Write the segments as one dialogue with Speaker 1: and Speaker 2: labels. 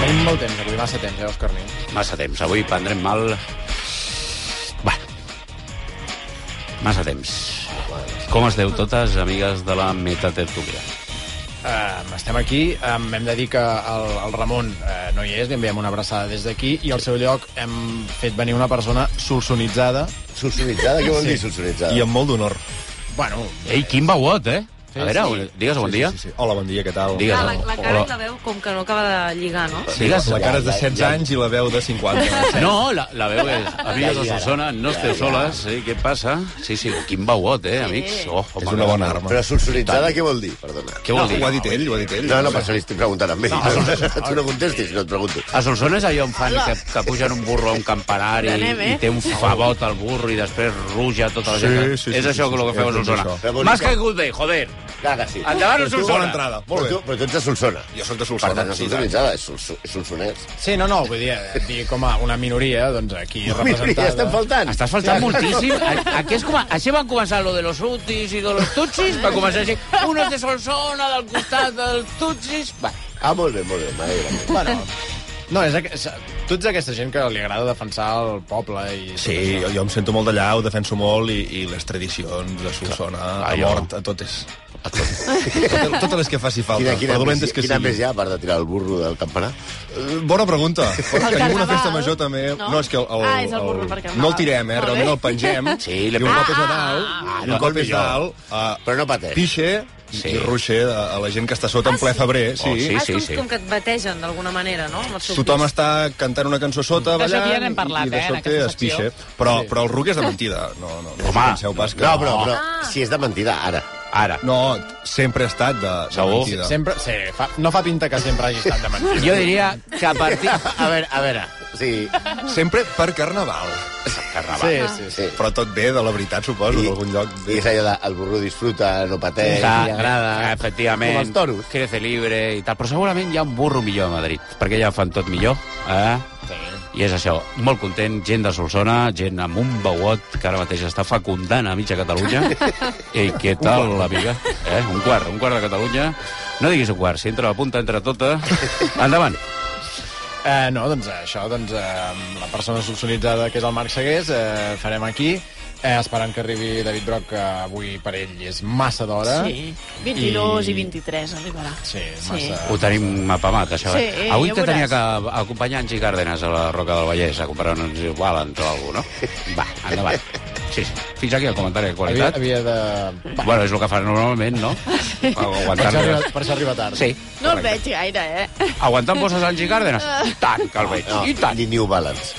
Speaker 1: Tenim molt temps avui, massa temps, eh, Òscar Niu?
Speaker 2: Massa temps. Avui prendrem mal... Va. Massa temps. Com esteu totes, amigues de la Metatertúlia?
Speaker 1: Um, estem aquí, um, hem de dir que el, el Ramon uh, no hi és, li enviem una abraçada des d'aquí i al seu lloc hem fet venir una persona solsonitzada.
Speaker 3: Solsonitzada? Què vol dir
Speaker 4: I
Speaker 3: solsonitzada?
Speaker 4: amb molt d'honor.
Speaker 1: Bueno,
Speaker 2: Ei, quin veuot, eh?
Speaker 1: Sí,
Speaker 2: A veure,
Speaker 1: sí.
Speaker 2: digues bon dia.
Speaker 4: Sí, sí, sí. Hola, bon dia, què tal?
Speaker 2: Digues.
Speaker 5: Ah,
Speaker 6: Clar,
Speaker 3: Ah,
Speaker 6: la, la cara
Speaker 2: Hola.
Speaker 6: ens la veu com que no acaba de lligar, no?
Speaker 2: Digues.
Speaker 4: La cara és de
Speaker 3: Ja, ja,
Speaker 4: 16
Speaker 3: ja.
Speaker 4: anys i la veu de 50.
Speaker 2: No, la, la veu és... Amigues de
Speaker 3: Ja, ja.
Speaker 2: Solsona, no esteu soles, eh? Què passa? Sí, sí, quin veuot, eh, amics? Oh,
Speaker 4: És
Speaker 2: home,
Speaker 4: una bona
Speaker 2: que-
Speaker 4: arma.
Speaker 3: Però solsonitzada què vol dir? Perdona.
Speaker 2: Què vol dir?
Speaker 4: Ho ha dit ell, ho ha dit ell.
Speaker 3: No, no, per això li estic preguntant a mi. Tu no contestis, no et pregunto.
Speaker 2: A Solsona és allò on fan que, que pugen un burro a un campanari
Speaker 6: Anem, eh?
Speaker 2: i té un favot al burro i després ruja tota la
Speaker 4: Sí,
Speaker 2: gent.
Speaker 4: sí, sí,
Speaker 2: és
Speaker 4: sí,
Speaker 2: això
Speaker 4: sí,
Speaker 2: que el
Speaker 4: sí,
Speaker 2: que feu a
Speaker 4: és
Speaker 2: Solsona.
Speaker 3: això.
Speaker 2: M'has caigut bé, joder.
Speaker 3: Clar que sí.
Speaker 2: Endavant, a
Speaker 4: Bona
Speaker 2: Solsona.
Speaker 4: entrada,
Speaker 3: Però
Speaker 4: molt
Speaker 3: Ah, tu,
Speaker 4: bé.
Speaker 3: però tu ets de Solsona.
Speaker 4: Jo sóc de
Speaker 3: Per tant,
Speaker 4: Solsona.
Speaker 3: no és
Speaker 4: sí,
Speaker 3: solsonitzada, és solso- és solsonès.
Speaker 1: sí, no, no, vull dir, eh, dir com a una minoria, doncs aquí
Speaker 3: Ja estem
Speaker 1: representada.
Speaker 3: faltant.
Speaker 2: Estàs faltant moltíssim. A- Aquí, és com, així van començar lo de los utis i de los tutsis. Va començar així. Unos de Solsona, del costat dels tutsis. Va.
Speaker 3: Ah, molt bé, molt bé, m'agrada.
Speaker 1: Bueno, no, és, aqu- és, tu ets aquesta gent que li agrada defensar el poble i... tot
Speaker 4: Sí,
Speaker 1: això.
Speaker 4: jo, jo em sento molt d'allà, ho defenso molt i, i les tradicions de Solsona, a
Speaker 2: clar, jo-
Speaker 4: mort, a totes. A totes. totes les que faci falta,
Speaker 3: Quina,
Speaker 4: per
Speaker 3: quina,
Speaker 4: dolentes
Speaker 3: més,
Speaker 4: que
Speaker 3: quina més
Speaker 4: sigui.
Speaker 3: hi ha, a part de tirar el burro del campanar?
Speaker 4: Eh, Bona pregunta. Tenim una
Speaker 6: carnaval,
Speaker 4: festa major també.
Speaker 6: no?
Speaker 4: No, és que el, el,
Speaker 6: Ah, és el burro per carnaval.
Speaker 4: no el tirem, eh?
Speaker 6: Molt bé.
Speaker 4: Realment el pengem.
Speaker 2: Sí,
Speaker 4: I
Speaker 2: le-
Speaker 4: un cop és
Speaker 2: Ah,
Speaker 4: a dalt,
Speaker 2: ah,
Speaker 4: i
Speaker 2: no,
Speaker 4: un cop és
Speaker 2: millor.
Speaker 4: dalt, eh,
Speaker 3: Però no pateix.
Speaker 4: pixe
Speaker 2: Sí.
Speaker 4: sí. i ruixer a, a la gent que està sota en
Speaker 6: Ah,
Speaker 4: ple
Speaker 6: sí?
Speaker 4: febrer. Sí.
Speaker 2: Oh, sí.
Speaker 6: Ah, és com, com que et bategen d'alguna manera, no? Amb el seu
Speaker 4: Tothom
Speaker 6: pis.
Speaker 4: està cantant una cançó sota,
Speaker 5: D'això
Speaker 4: ballant,
Speaker 5: aquí ja n'hem parlat,
Speaker 4: i, i de
Speaker 5: eh, en
Speaker 4: sobte
Speaker 5: aquesta
Speaker 4: es pixa.
Speaker 5: secció.
Speaker 4: Però, però el ruc és de mentida. No, no, no us
Speaker 2: Home,
Speaker 4: penseu pas que...
Speaker 3: No, però, però si és de mentida, ara.
Speaker 2: Ara.
Speaker 4: No, sempre ha estat de, de
Speaker 2: Segur?
Speaker 4: mentida.
Speaker 1: Sempre, sí, fa, no fa pinta que sempre hagi estat de mentida.
Speaker 2: Jo diria que a partir...
Speaker 3: A veure, a veure, sí,
Speaker 4: Sempre per carnaval.
Speaker 2: Carnaval.
Speaker 1: Sí, sí, sí.
Speaker 3: sí.
Speaker 4: Però tot ve de la veritat, suposo,
Speaker 3: I-
Speaker 4: d'algun lloc.
Speaker 3: I és allò de, el burro disfruta, no pateix,
Speaker 2: Clar,
Speaker 3: li agrada...
Speaker 2: Eh, Efectivament.
Speaker 3: Com els toros.
Speaker 2: Crece libre i tal. Però segurament hi ha un burro millor a Madrid, perquè ja ho fan tot millor. Eh? I és això, molt content, gent de Solsona, gent amb un veuot que ara mateix està fecundant a mitja Catalunya. I què tal, amiga? Eh? Un quart, un quart de Catalunya. No diguis un quart, si entra la punta, entra tota. Endavant.
Speaker 1: Eh, no, doncs eh, això, doncs, eh, amb la persona subsonitzada que és el Marc Segués, eh, farem aquí, eh, esperant que arribi David Broc, que avui per ell és massa d'hora.
Speaker 5: Sí, 22
Speaker 1: I-
Speaker 5: i, 23 arribarà.
Speaker 1: Sí, massa...
Speaker 2: Ho tenim apamat, això.
Speaker 5: Sí,
Speaker 2: eh?
Speaker 5: eh,
Speaker 2: Avui
Speaker 5: ja
Speaker 2: que tenia
Speaker 5: veuràs.
Speaker 2: que acompanyar en Cárdenas a la Roca del Vallès a comprar uns igualants o alguna cosa, no? Va, endavant. Sí, sí. Fins aquí el comentari de
Speaker 1: Havia,
Speaker 2: qualitat.
Speaker 1: havia de...
Speaker 2: Bueno, és el que fa normalment, no?
Speaker 1: Per això,
Speaker 2: Aguantant...
Speaker 1: arriba, per això arriba tard.
Speaker 2: Sí.
Speaker 5: No el
Speaker 2: correcte.
Speaker 5: veig gaire, eh?
Speaker 2: Aguantant bosses al G. Cárdenas?
Speaker 5: Ah.
Speaker 2: I tant que el veig,
Speaker 3: No,
Speaker 2: i tant.
Speaker 3: ni New Balance.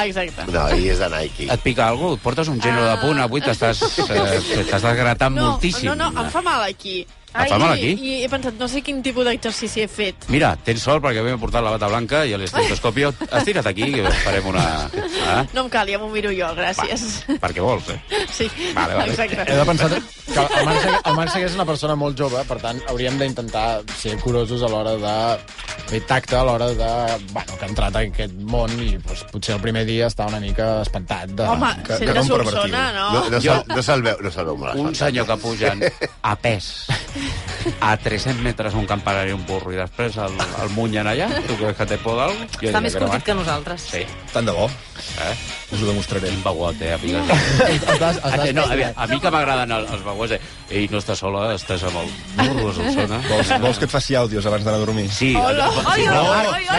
Speaker 5: Exacte.
Speaker 3: No, i és de Nike.
Speaker 2: Et pica algú? Et portes un gènere de punt? Avui t'estàs eh, t'estàs gratant
Speaker 5: Ah. No,
Speaker 2: moltíssim.
Speaker 5: no, no, em fa mal aquí.
Speaker 2: fa mal aquí?
Speaker 5: I, I he pensat, no sé quin tipus d'exercici he fet.
Speaker 2: Mira, tens sort perquè avui m'he portat la bata blanca i l'estetoscòpio. Estira't aquí que farem una... Eh?
Speaker 5: No em cal, ja m'ho miro jo, gràcies.
Speaker 2: Va, perquè vols, eh?
Speaker 5: Sí,
Speaker 2: Vale,
Speaker 1: He
Speaker 2: vale. Eh,
Speaker 5: exacte.
Speaker 1: de pensar que el Marc, Segués, el Marc Segués és una persona molt jove, per tant, hauríem d'intentar ser curosos a l'hora de fer tacte, a l'hora de... Bueno, que ha entrat en aquest món i doncs, potser el primer dia està una mica espantat de...
Speaker 5: Home,
Speaker 1: que,
Speaker 5: sent de
Speaker 4: un pervertit.
Speaker 5: Solsona, no?
Speaker 3: No, no, se'l, no se'l veu, no se'l veu molt.
Speaker 2: un senyor que pugen a pes a 300 metres un campanari i un burro i després el, el munyen allà, tu creus que té por d'algú? Jo
Speaker 6: Està
Speaker 2: diria
Speaker 6: més
Speaker 2: no,
Speaker 6: curtit
Speaker 2: eh?
Speaker 6: que nosaltres.
Speaker 2: Sí,
Speaker 4: Tant de bo.
Speaker 2: eh?
Speaker 4: Us ho demostraré.
Speaker 2: Un beguot, eh, amiga.
Speaker 1: Estàs, eh?
Speaker 2: Ah,
Speaker 1: estàs,
Speaker 2: No, a, veure, a mi que m'agraden el- els beguats, eh? Ei, no estàs sola, estàs amb el burro, se'm sona.
Speaker 4: Vols, vols que et faci àudios abans d'anar a dormir?
Speaker 2: Sí,
Speaker 7: Oh,
Speaker 2: eh, Oh.
Speaker 5: Hola. Ai,
Speaker 2: sí,
Speaker 5: ai,
Speaker 2: no.
Speaker 5: ai, ai,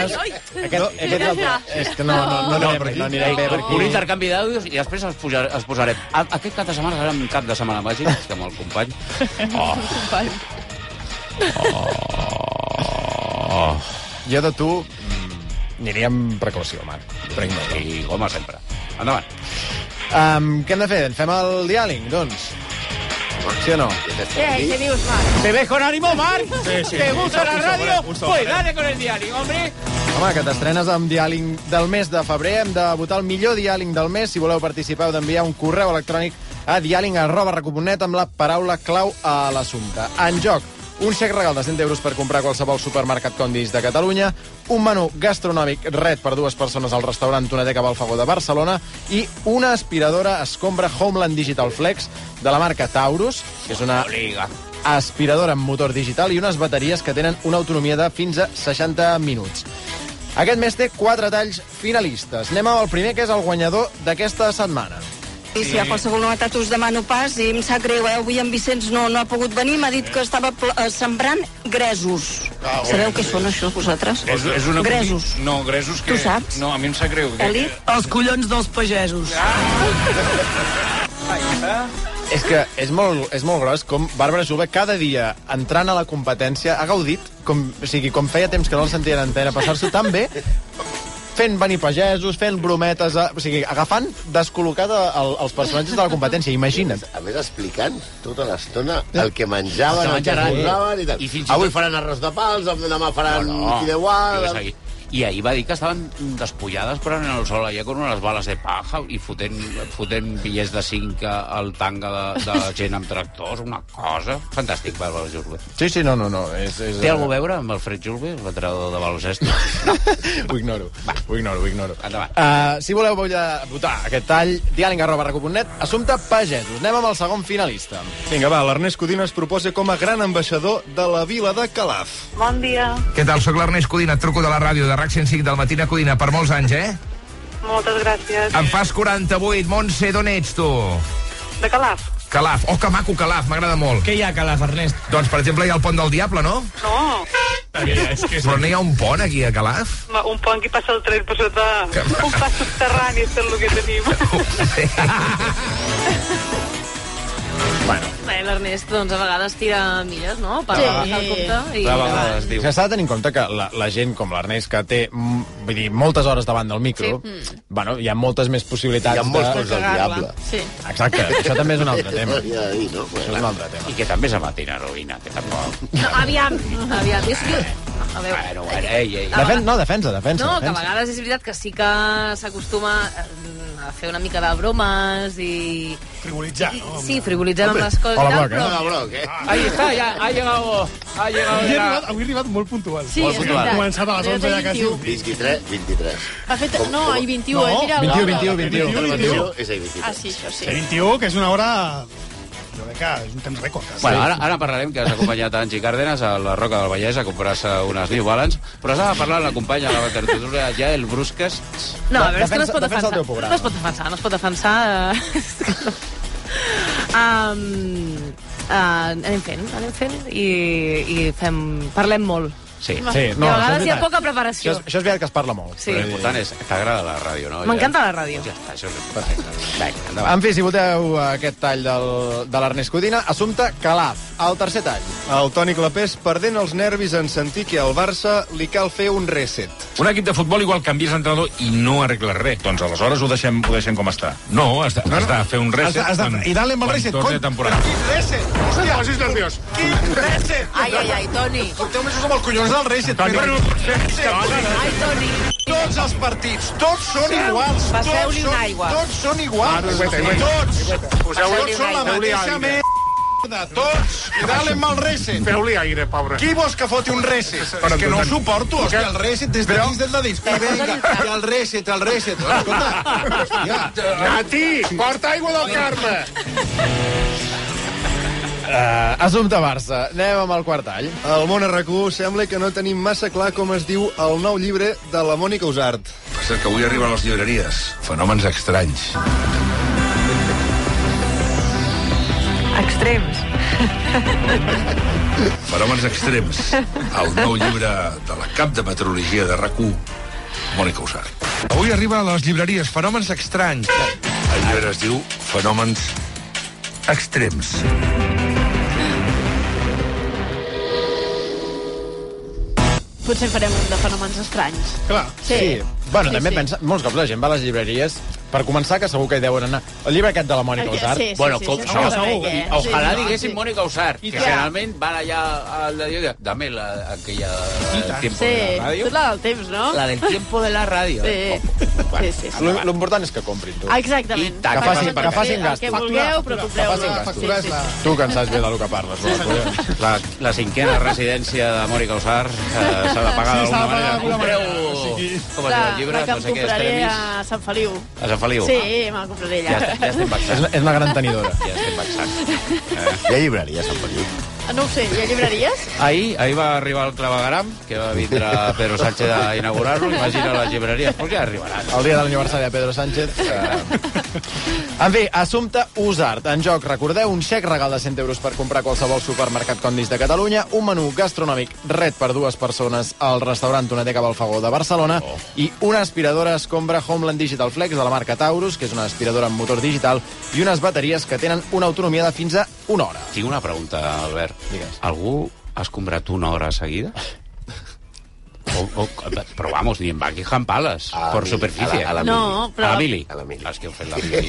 Speaker 1: Aquest,
Speaker 5: ai.
Speaker 1: aquest és el... És que no, no, no, no,
Speaker 4: per
Speaker 1: no,
Speaker 4: aquí.
Speaker 1: no anirem bé, perquè...
Speaker 2: Un intercanvi d'àudios i després els, pujar, els posarem. A- Aquest cap de setmana serà un cap de setmana màgic, que amb el company. Oh,
Speaker 5: Vale.
Speaker 2: oh.
Speaker 1: Jo de tu mm, aniria amb precaució, Marc.
Speaker 4: Prenc nota.
Speaker 2: I com a sempre. Endavant.
Speaker 1: Um, què hem de fer? Fem el diàling, doncs? Sí o no?
Speaker 5: Què, què dius, Marc?
Speaker 2: ¿Te ves con ánimo, Marc?
Speaker 4: sí,
Speaker 2: ¿Te
Speaker 4: sí.
Speaker 2: gusta la
Speaker 4: Un sobre,
Speaker 2: radio?
Speaker 4: un sobre.
Speaker 2: Pues dale con el diario, hombre.
Speaker 1: Home, que t'estrenes amb diàling del mes de febrer. Hem de votar el millor diàling del mes. Si voleu participar, heu d'enviar un correu electrònic a diàling arroba recoponet amb la paraula clau a l'assumpte. En joc, un xec regal de 100 euros per comprar a qualsevol supermercat Condis de Catalunya, un menú gastronòmic ret per dues persones al restaurant Tonateca Balfagó de Barcelona i una aspiradora escombra Homeland Digital Flex de la marca Taurus, que és una
Speaker 2: Obliga.
Speaker 1: aspiradora amb motor digital i unes bateries que tenen una autonomia de fins a 60 minuts. Aquest mes té quatre talls finalistes. Anem al primer, que és el guanyador d'aquesta setmana.
Speaker 7: I si hi ha qualsevol novetat us demano pas i em sap greu, eh? avui en Vicenç no, no ha pogut venir, m'ha dit que estava pl- eh, sembrant gresos.
Speaker 3: Ah,
Speaker 7: Sabeu què són això, vosaltres?
Speaker 8: És, és una...
Speaker 7: Gresos.
Speaker 8: No, gresos que...
Speaker 7: Tu saps?
Speaker 8: No, a mi em sap greu. que-
Speaker 7: Elit? Els collons dels pagesos.
Speaker 1: És que és molt, és molt gros com Bàrbara Juba cada dia entrant a la competència ha gaudit, com, o sigui, com feia temps que no el sentia en antena, passar-s'ho tan bé fent venir pagesos, fent brometes, a, o sigui, agafant descol·locat el, els personatges de la competència, imagina't.
Speaker 3: A més, explicant tota l'estona el que menjaven,
Speaker 2: El que
Speaker 3: el que
Speaker 2: menjaran.
Speaker 3: menjaven i tal.
Speaker 2: I fins i
Speaker 3: Avui
Speaker 2: tot-
Speaker 3: faran arròs de pals, demà faran no, no.
Speaker 2: digues
Speaker 3: fideuà...
Speaker 2: aquí. I ahir va dir que estaven despullades però en el sol allà con unes bales de paja i fotent, fotent bitllets de 5 al tanga de, de gent amb tractors, una cosa... Fantàstic, Bàrbara Julve.
Speaker 1: Sí, sí, no, no, no. És, és,
Speaker 2: Té alguna a veure amb el Fred Julve, l'entrenador de baloncesto?
Speaker 1: Ho ignoro, ho ignoro, ho ignoro.
Speaker 2: Endavant.
Speaker 1: Uh, si voleu volia votar aquest tall, diàleg arroba recu.net, assumpte pagesos. Anem amb el segon finalista.
Speaker 4: Vinga, va, l'Ernest Codina es proposa com a gran ambaixador de la vila de Calaf.
Speaker 9: Bon dia.
Speaker 10: Què tal? Soc l'Ernest Codina, et truco de la ràdio de RAC 105 del matí a Codina per molts anys, eh?
Speaker 9: Moltes gràcies.
Speaker 10: Em fas 48, Montse, d'on ets tu?
Speaker 9: De Calaf?
Speaker 10: Calaf. Oh, que maco Calaf, m'agrada molt. Què hi ha Calaf, Ernest? Doncs, per exemple, hi ha el pont del Diable, no?
Speaker 9: No.
Speaker 10: Però no hi ha un pont aquí a Calaf?
Speaker 9: Ma- Un pont que hi passa el tren per sota. Un pas subterrani, és el que tenim.
Speaker 6: Bé, L'Ernest, doncs, a vegades tira milles, no? Per
Speaker 5: Sí.
Speaker 6: passar el compte. I...
Speaker 2: De vegades diu...
Speaker 1: S'ha de tenir en compte que la, la gent com l'Ernest, que té mm, vull dir, moltes hores davant del micro, sí.
Speaker 6: mm.
Speaker 1: bueno, hi ha moltes més possibilitats
Speaker 3: Hi ha molts
Speaker 1: de...
Speaker 3: cons del diable.
Speaker 5: Sí.
Speaker 1: Exacte, això també és un altre tema.
Speaker 3: Ho havia de dir, no?
Speaker 1: Això és un altre tema.
Speaker 2: I que també se matin heroïna, que tampoc...
Speaker 6: No, aviam, aviam. És que... A veure,
Speaker 2: Bueno, bueno, ei, ei.
Speaker 1: Defen no, defensa, defensa.
Speaker 6: Ah, No, que a
Speaker 1: defensa.
Speaker 6: vegades és veritat que sí que s'acostuma eh, a fer una mica de bromes i...
Speaker 4: Frivolitzar,
Speaker 6: i- Sí, frivolitzant amb les coses
Speaker 1: Hola,
Speaker 6: i tal,
Speaker 1: Bloc, eh?
Speaker 6: però...
Speaker 3: No, Broc, eh?
Speaker 2: Ahí está, ya, ha llegado... Ha llegado ya.
Speaker 4: avui he arribat molt puntual.
Speaker 5: Sí, és veritat. Començava a les 11 ja quasi.
Speaker 3: 23, 23.
Speaker 5: Ha fet... No, ai, 21, eh? Mira,
Speaker 1: 21, 21,
Speaker 5: l'hora.
Speaker 1: 21.
Speaker 3: La televisió és a 23.
Speaker 5: Ah, sí, això sí.
Speaker 4: que és una hora... Jo crec que és un temps rècord.
Speaker 2: Bueno, ara, ara parlarem, que has acompanyat a Angie Cárdenas a la Roca del Vallès a comprar-se unes New Balance, però s'ha de parlar amb la companya de la tertulia, ja el Brusques.
Speaker 6: No, a veure, és que no es pot
Speaker 1: Defensa- defensa
Speaker 6: defensar.
Speaker 1: el teu programa.
Speaker 6: No es pot defensar, no es pot defensar. eh, és que no. Um, uh, anem fent, anem fent i, i fem, parlem molt.
Speaker 2: Sí.
Speaker 1: Sí,
Speaker 6: No,
Speaker 1: no,
Speaker 6: I a
Speaker 1: això és
Speaker 6: vegades hi ha
Speaker 1: veritat.
Speaker 6: poca
Speaker 1: Això
Speaker 6: preparació.
Speaker 1: és, això és veritat que es parla molt.
Speaker 6: Sí.
Speaker 2: Però l'important és que t'agrada la ràdio, no?
Speaker 6: M'encanta la ràdio.
Speaker 2: Ja està, això és perfecte. Vinga, endavant.
Speaker 1: En fi, si voteu eh, aquest tall del, de l'Ernest Codina, assumpte Calaf, el tercer tall.
Speaker 4: El Toni Clapés perdent els nervis en sentir que al Barça li cal fer un reset.
Speaker 8: Un equip de futbol igual canvies entrenador i no arregles res.
Speaker 11: Doncs aleshores ho deixem, ho deixem com està. No, has de, has de fer un reset.
Speaker 4: Has de- has de-
Speaker 11: quan-
Speaker 4: i dale amb el
Speaker 11: quan
Speaker 4: reset,
Speaker 11: Torni a
Speaker 4: cony.
Speaker 11: temporada.
Speaker 4: Quin reset? Hòstia, posis nerviós. Quin reset?
Speaker 6: Ai, ai, ai, Toni.
Speaker 4: Porteu mesos amb el collons del reset. Però-
Speaker 11: eh?
Speaker 6: Ai, Toni.
Speaker 4: Tots els partits, tots són iguals.
Speaker 6: Passeu-li
Speaker 4: tots
Speaker 6: una
Speaker 4: són-
Speaker 6: aigua.
Speaker 4: Tots són iguals. Tots. Tots són la mateixa merda. Tots. I dale amb el reset.
Speaker 11: Feu-li aire, pobre.
Speaker 4: Qui vols que foti un reset? Però que no ho suporto, hòstia, el reset des de dins del de dins. I vinga, i el reset, el reset. Escolta, hòstia.
Speaker 11: Eh, Nati, porta aigua del Carme.
Speaker 1: Eh, assumpte Barça, anem amb el quart tall.
Speaker 4: Al món arracú sembla que no tenim massa clar com es diu el nou llibre de la Mònica Usart.
Speaker 11: Passa que avui arriben a les llibreries. Fenòmens estranys.
Speaker 9: Extrems.
Speaker 11: Fenòmens extrems. El nou llibre de la cap de meteorologia de RAC1, Mònica Usart.
Speaker 10: Avui arriba a les llibreries Fenòmens Estranys.
Speaker 11: El llibre es diu Fenòmens extrems.
Speaker 5: Potser farem un de fenòmens estranys.
Speaker 1: Clar. Sí. sí. Bueno,
Speaker 5: Sí,
Speaker 1: també
Speaker 5: sí.
Speaker 1: pensa... Molts cops la gent va a les llibreries per començar, que segur que hi deuen anar. El llibre aquest de la Mònica
Speaker 5: Perquè-
Speaker 1: Usart,
Speaker 5: sí, sí,
Speaker 2: Bueno,
Speaker 5: sí,
Speaker 2: com-
Speaker 5: sí,
Speaker 2: segur,
Speaker 5: segur.
Speaker 2: I
Speaker 5: Eh?
Speaker 2: ojalà
Speaker 5: Sí, sí,
Speaker 2: diguéssim
Speaker 5: sí.
Speaker 2: Mònica Usart, que generalment van allà al de Dios. Dame la, aquella del tiempo
Speaker 5: Sí,
Speaker 2: de la
Speaker 5: tu
Speaker 2: radio.
Speaker 5: la del temps, no?
Speaker 2: La del tiempo de la
Speaker 6: Oh.
Speaker 2: radio.
Speaker 5: Sí, sí, sí. sí.
Speaker 1: Lo- L'important és que comprin, tu.
Speaker 5: Ah, Exactament.
Speaker 2: I tant, que facin-
Speaker 1: que facin
Speaker 5: El
Speaker 1: gastos.
Speaker 5: que vulgueu, però compreu-lo.
Speaker 1: Factura
Speaker 5: Sí, sí, sí.
Speaker 1: Tu que en saps bé del que parles. Sí, sí.
Speaker 2: La, la cinquena residència de Mònica Usart eh, s'ha de pagar d'alguna manera. Compreu... Com es diu el llibre?
Speaker 5: La que
Speaker 2: No
Speaker 5: em
Speaker 2: sé què,
Speaker 5: compraré
Speaker 2: Estremis.
Speaker 5: a Sant Feliu.
Speaker 2: A Sant Feliu.
Speaker 5: Sí, me'l compraré
Speaker 2: Ja,
Speaker 5: allà.
Speaker 2: ja estem
Speaker 1: És,
Speaker 2: vexats.
Speaker 1: una- és una gran tenidora.
Speaker 2: Ja estem vexats.
Speaker 3: Hi ha llibreria, Sant Feliu.
Speaker 5: No ho sé, hi ha llibreries?
Speaker 2: Ahir, ahir va arribar el clavegaram, que va vindre Pedro Sánchez a inaugurar-lo. Imagina les llibreries, però ja arribaran.
Speaker 1: El dia de l'aniversari de Pedro Sánchez. eh, En fi, assumpte Usart. En joc, recordeu, un xec regal de 100 euros per comprar qualsevol supermercat Condis de Catalunya, un menú gastronòmic ret per dues persones al restaurant Tonateca Balfagó de Barcelona oh. i una aspiradora escombra Homeland Digital Flex de la marca Taurus, que és una aspiradora amb motor digital, i unes bateries que tenen una autonomia de fins a una hora.
Speaker 2: Tinc una pregunta, Albert. Digues. Algú ha escombrat una hora seguida? O, o, però vamos, ni en Buckingham Palace, a por superfície.
Speaker 5: a la No, mili. però-
Speaker 2: A la mili. A la mili. És que heu fet la mili.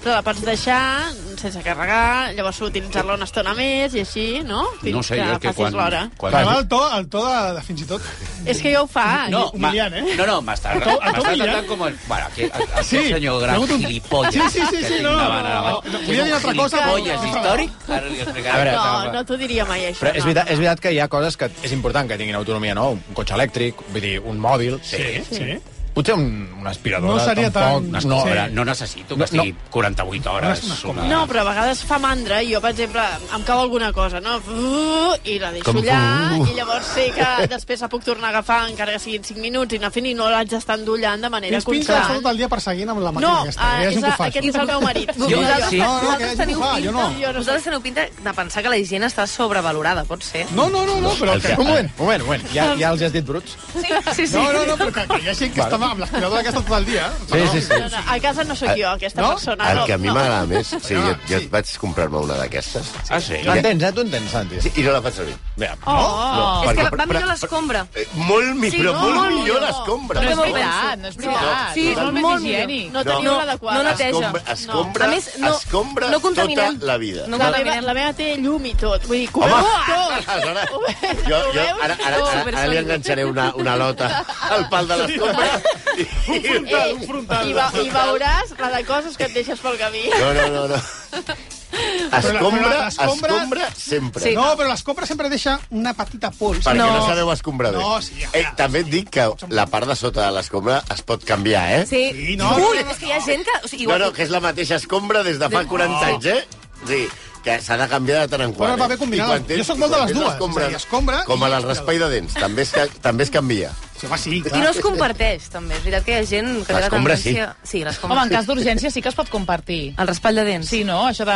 Speaker 5: Però la pots deixar sense carregar, llavors utilitzar-la una estona més i així, no?
Speaker 2: No sé, jo és que
Speaker 5: facis
Speaker 2: quan-
Speaker 5: l'hora.
Speaker 2: quan-
Speaker 12: Però el to, el to de, de fins i tot...
Speaker 5: És que ja ho fa.
Speaker 12: No,
Speaker 5: I-
Speaker 2: Ma-
Speaker 12: Humiliant, eh?
Speaker 2: No, no, m'està
Speaker 12: A to- a to
Speaker 2: m'està
Speaker 12: humiliant.
Speaker 2: tratant com... El, bueno, que, a, a,
Speaker 12: Sí.
Speaker 2: sí. senyor gran
Speaker 12: Pregunto-
Speaker 2: gilipolles.
Speaker 12: Sí, sí, sí,
Speaker 2: que
Speaker 12: sí,
Speaker 2: tinc
Speaker 12: no, no,
Speaker 2: davant ara.
Speaker 12: no, no, volia dir altra cosa, però-
Speaker 2: Gilipolles històric? Ara li explicaré.
Speaker 1: A veure,
Speaker 5: No, no t'ho diria mai, això.
Speaker 1: Però és
Speaker 5: no.
Speaker 1: veritat, és veritat que hi ha coses que és important que tinguin autonomia, no? Un cotxe elèctric, vull dir, un mòbil... eh, Sí,
Speaker 12: sí.
Speaker 1: Potser un, una aspiradora
Speaker 12: No seria
Speaker 1: tampoc...
Speaker 12: tan-
Speaker 2: No,
Speaker 1: No,
Speaker 2: a
Speaker 1: sí.
Speaker 2: veure, no necessito que estigui 48 hores. Una...
Speaker 5: No, però a vegades fa mandra i jo, per exemple, em cau alguna cosa, no? I la deixo
Speaker 2: Com-
Speaker 5: allà
Speaker 2: Uh.
Speaker 5: i llavors sé que després la puc tornar a agafar encara que siguin 5 minuts i anar fent i no l'haig d'estar endollant de manera
Speaker 12: Tens pinta d'estar
Speaker 5: constant.
Speaker 12: tot el dia perseguint amb la màquina
Speaker 5: No,
Speaker 12: aquesta.
Speaker 5: ah,
Speaker 12: ja sé
Speaker 5: és
Speaker 12: que ho
Speaker 5: a-
Speaker 12: fas.
Speaker 5: aquest és el meu marit.
Speaker 12: No,
Speaker 5: Jo-
Speaker 12: no,
Speaker 5: sí.
Speaker 12: no, no, que
Speaker 6: vosaltres,
Speaker 12: ell ho
Speaker 6: teniu
Speaker 12: fa,
Speaker 6: pinta,
Speaker 12: jo no.
Speaker 6: vosaltres teniu pinta de pensar que la higiene està sobrevalorada, pot ser?
Speaker 12: No, no, no, no però...
Speaker 1: El que-
Speaker 12: un moment.
Speaker 1: Un moment, un moment. Ja, ja els has dit bruts?
Speaker 6: Sí, sí, sí.
Speaker 12: No, no, no, però que, que hi ha gent que
Speaker 1: Vale.
Speaker 12: està amb l'aspiradora aquesta tot el dia. eh?
Speaker 1: Sí, sí, sí.
Speaker 5: No, no, a casa no sóc jo, aquesta
Speaker 12: No?
Speaker 3: El
Speaker 5: persona. Ah, no,
Speaker 3: que a mi
Speaker 5: no.
Speaker 3: m'agrada més... Sí, jo, jo vaig comprar-me una d'aquestes.
Speaker 2: Ah, sí?
Speaker 1: L'entens, eh? Tu entens, Santi.
Speaker 3: Sí, I no la faig servir. No,
Speaker 6: Oh, és
Speaker 3: perquè-
Speaker 6: que va
Speaker 3: però-
Speaker 6: millor l'escombra.
Speaker 3: Eh, Molt millor,
Speaker 6: Sí,
Speaker 3: però
Speaker 6: no,
Speaker 3: molt
Speaker 6: no,
Speaker 3: millor
Speaker 6: no.
Speaker 3: l'escombra.
Speaker 6: No és
Speaker 13: veritat, no és veritat.
Speaker 6: Sí,
Speaker 13: és molt més higiènic.
Speaker 5: No teniu l'adequada.
Speaker 6: No neteja.
Speaker 3: Escombra, escombra,
Speaker 6: A
Speaker 3: no.
Speaker 6: més,
Speaker 3: no, escombra
Speaker 6: no
Speaker 3: tota
Speaker 6: contaminem.
Speaker 3: la vida.
Speaker 6: No
Speaker 5: la, meva,
Speaker 6: contaminem.
Speaker 5: la meva té llum i tot. Vull dir, cobreu tot.
Speaker 3: Aleshores, jo, jo ara, ara, ara, ara li enganxaré una, una lota al pal de l'escombra. Un frontal,
Speaker 5: un frontal. Eh, I, va, I veuràs la de coses que et deixes pel camí.
Speaker 3: No, no, no, no. Escombra,
Speaker 12: l'escombra-
Speaker 3: escombra sempre.
Speaker 12: Sí. No, però l'escombra sempre deixa una petita pols.
Speaker 3: Perquè no, sabeu escombrar bé.
Speaker 12: No, sí,
Speaker 3: eh, també et dic que la part de sota de l'escombra es pot canviar, eh?
Speaker 6: Sí.
Speaker 12: Sí,
Speaker 6: no, Ui, no, és que hi ha gent que... O sigui,
Speaker 3: No, no, que és la mateixa escombra des de fa 40 anys, eh? Sí, que s'ha de canviar de tant en quant.
Speaker 12: Bueno, va bé
Speaker 3: eh?
Speaker 12: combinada.
Speaker 3: I quan
Speaker 12: Jo soc molt de
Speaker 3: quan
Speaker 12: les
Speaker 3: tens
Speaker 12: dues,
Speaker 3: l'escombra-
Speaker 12: és a dir, escombra
Speaker 3: Com
Speaker 12: i
Speaker 3: a l'espai de dents, també es, ca- també es canvia.
Speaker 12: Sí, home, sí,
Speaker 6: I no es comparteix, també. És veritat que hi ha gent que té la
Speaker 3: L'escombra,
Speaker 6: tendència... Sí, l'escombra.
Speaker 13: Home, en cas d'urgència sí que es pot compartir.
Speaker 6: El raspall de dents.
Speaker 13: Sí, no? Això de...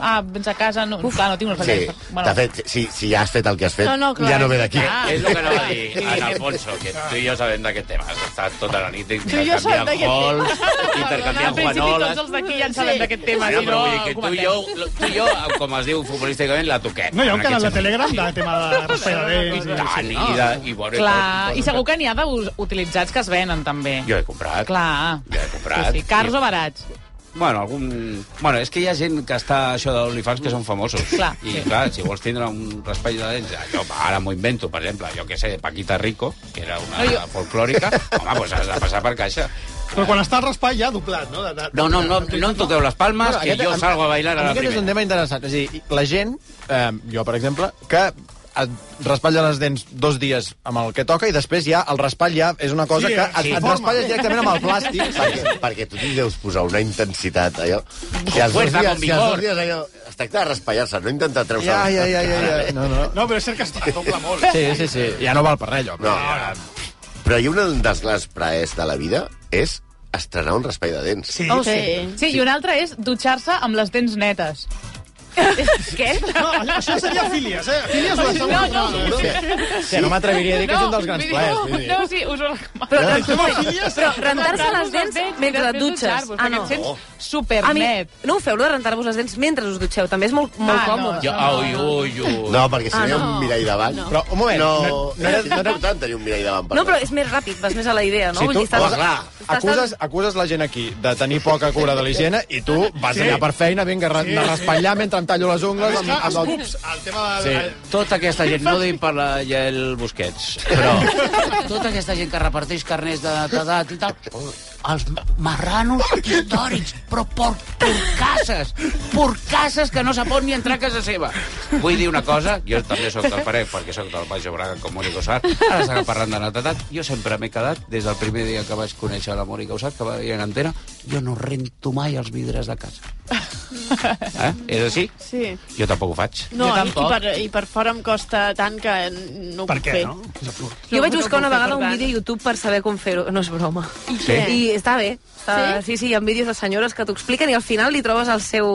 Speaker 13: Ah, vens a casa... No, clar, no tinc
Speaker 3: Sí,
Speaker 13: un raspall de dents.
Speaker 3: de fet, si, si ja has fet el que has fet,
Speaker 13: No, no, clar,
Speaker 3: ja no ve
Speaker 13: és
Speaker 3: d'aquí.
Speaker 13: clar.
Speaker 2: És el que anava a dir, en Alfonso, que tu i jo sabem d'aquest tema. Has estat tota la nit
Speaker 13: Tu i jo
Speaker 2: intercanviant
Speaker 13: sabem d'aquest
Speaker 2: gols,
Speaker 13: Al
Speaker 2: intercanviant
Speaker 13: principi
Speaker 2: guanoles...
Speaker 13: tots els d'aquí ja en sabem d'aquest tema.
Speaker 2: No,
Speaker 13: si
Speaker 2: però
Speaker 13: no,
Speaker 2: vull dir que tu i, jo, tu i jo, com es diu futbolísticament, la toquem.
Speaker 12: No, hi ha un
Speaker 2: En
Speaker 12: canal de
Speaker 2: aquest
Speaker 12: Telegram de tema de raspall de dents.
Speaker 2: sentit. I tant, i, Ah, de, i bueno, i
Speaker 13: Clar,
Speaker 2: tot. doncs,
Speaker 13: i segur que n'hi ha d'utilitzats que es venen, també.
Speaker 2: Jo he comprat.
Speaker 13: Clar.
Speaker 2: Jo he comprat.
Speaker 13: Sí, sí, cars o barats.
Speaker 2: Bueno, algun... bueno, és que hi ha gent que està a això de l'OnlyFans que són famosos.
Speaker 13: Clar,
Speaker 2: I
Speaker 13: sí.
Speaker 2: clar, si vols tindre un raspall de dents, ja, jo ara m'ho invento, per exemple, jo que sé, Paquita Rico, que era una
Speaker 12: No,
Speaker 2: no,
Speaker 12: jo-
Speaker 2: folclòrica, home, doncs has de passar per caixa.
Speaker 12: Però quan està al raspall ja doblat, no? De, de,
Speaker 2: No, no, no, no em toqueu les palmes,
Speaker 1: Bueno,
Speaker 2: que
Speaker 1: aquest-
Speaker 2: jo
Speaker 1: amb-
Speaker 2: salgo a bailar a la
Speaker 1: Aquest és
Speaker 2: primera.
Speaker 1: un tema interessant. És a dir, la gent, eh, jo per exemple, que et raspalla les dents dos dies amb el que toca i després ja el raspall ja és una cosa
Speaker 3: Sí,
Speaker 1: que et,
Speaker 3: sí.
Speaker 1: et raspalles directament amb el plàstic.
Speaker 3: Perquè, perquè tu t'hi deus posar una intensitat, allò. Si els dos
Speaker 1: Fuerza
Speaker 3: dies,
Speaker 1: con
Speaker 3: si els
Speaker 1: vigor.
Speaker 3: dos dies allò... Es tracta de raspallar-se, no intentar treure-se... Eh,
Speaker 1: Ja, ja, ja, ja, ja. No, no.
Speaker 12: No, però és cert que es dobla molt.
Speaker 1: Sí, sí, sí. Ja no val per res, allò.
Speaker 3: No, però hi ha un dels grans praers de la vida és estrenar un raspall de dents.
Speaker 12: Sí,
Speaker 5: Oh,
Speaker 13: sí. i un altre és dutxar-se amb les dents netes.
Speaker 6: Què?
Speaker 12: No, això seria fílies, eh? Fílies
Speaker 13: no, no, no,
Speaker 12: no.
Speaker 1: Sí, no m'atreviria a dir que és un dels grans
Speaker 13: vull dir,
Speaker 1: plaers.
Speaker 13: no,
Speaker 1: vull dir.
Speaker 13: No, sí, us ho recomano.
Speaker 6: Però,
Speaker 1: Ai,
Speaker 6: rentar- però rentar-se les
Speaker 13: Rentar-vos
Speaker 6: dents mentre et
Speaker 13: i després
Speaker 6: dutxes.
Speaker 13: dutxar-vos,
Speaker 6: Ah,
Speaker 13: perquè
Speaker 6: no.
Speaker 13: et sents supernet.
Speaker 6: A mi, no ho feu, lo de rentar-vos les dents mentre us dutxeu. També és molt, molt
Speaker 13: Ah, no,
Speaker 6: còmode.
Speaker 3: Jo, ai,
Speaker 2: ui, ui.
Speaker 3: No, perquè si
Speaker 6: Ah,
Speaker 3: no hi ha
Speaker 6: no.
Speaker 3: un mirall davant...
Speaker 6: No.
Speaker 1: Però, un moment,
Speaker 3: No,
Speaker 1: no-
Speaker 3: no, és important tenir un mirall davant.
Speaker 6: No, però és més ràpid, vas més a la idea, no?
Speaker 1: Si tu
Speaker 6: dir, estàs-
Speaker 1: Home, clar,
Speaker 6: estàs-
Speaker 1: acuses, acuses la gent aquí de tenir poca cura de la higiene i tu vas
Speaker 2: Sí.
Speaker 1: sí. allà per feina, vinga, sí,
Speaker 2: Sí,
Speaker 1: de
Speaker 2: sí.
Speaker 1: raspallar mentre em tallo les
Speaker 12: A
Speaker 1: ungles
Speaker 12: més
Speaker 1: amb,
Speaker 12: que els
Speaker 1: amb el
Speaker 12: cups, el tema
Speaker 2: Sí.
Speaker 12: de...
Speaker 2: Tota aquesta gent, no ho dic per la Yael Busquets, però tota aquesta gent que reparteix carners de- d'edat i tal, els marranos històrics, però por, porcasses, porcasses que no se pot ni entrar a casa seva. Vull dir una cosa, jo també sóc del Parec, perquè sóc del Baix Obraga com Mònica Usart, ara s'ha parlant de netedat, jo sempre m'he quedat, des del primer dia que vaig conèixer la Mònica Usart, que va venir en antena, jo no rento mai els vidres de casa. Eh? És així?
Speaker 5: Sí.
Speaker 2: Jo tampoc ho faig.
Speaker 5: No, i, i, per, i per fora em costa tant que no ho
Speaker 2: Per
Speaker 5: puc
Speaker 2: què,
Speaker 5: fer.
Speaker 2: no?
Speaker 6: Jo vaig
Speaker 5: No,
Speaker 6: buscar
Speaker 5: no
Speaker 6: una
Speaker 5: puc fer,
Speaker 6: vegada
Speaker 5: per
Speaker 6: un
Speaker 5: tant.
Speaker 6: vídeo a YouTube per saber com fer-ho. No és broma. I,
Speaker 2: què?
Speaker 6: I està bé. Està, sí? sí, sí, hi ha vídeos de senyores que t'ho expliquen i al final li trobes el seu,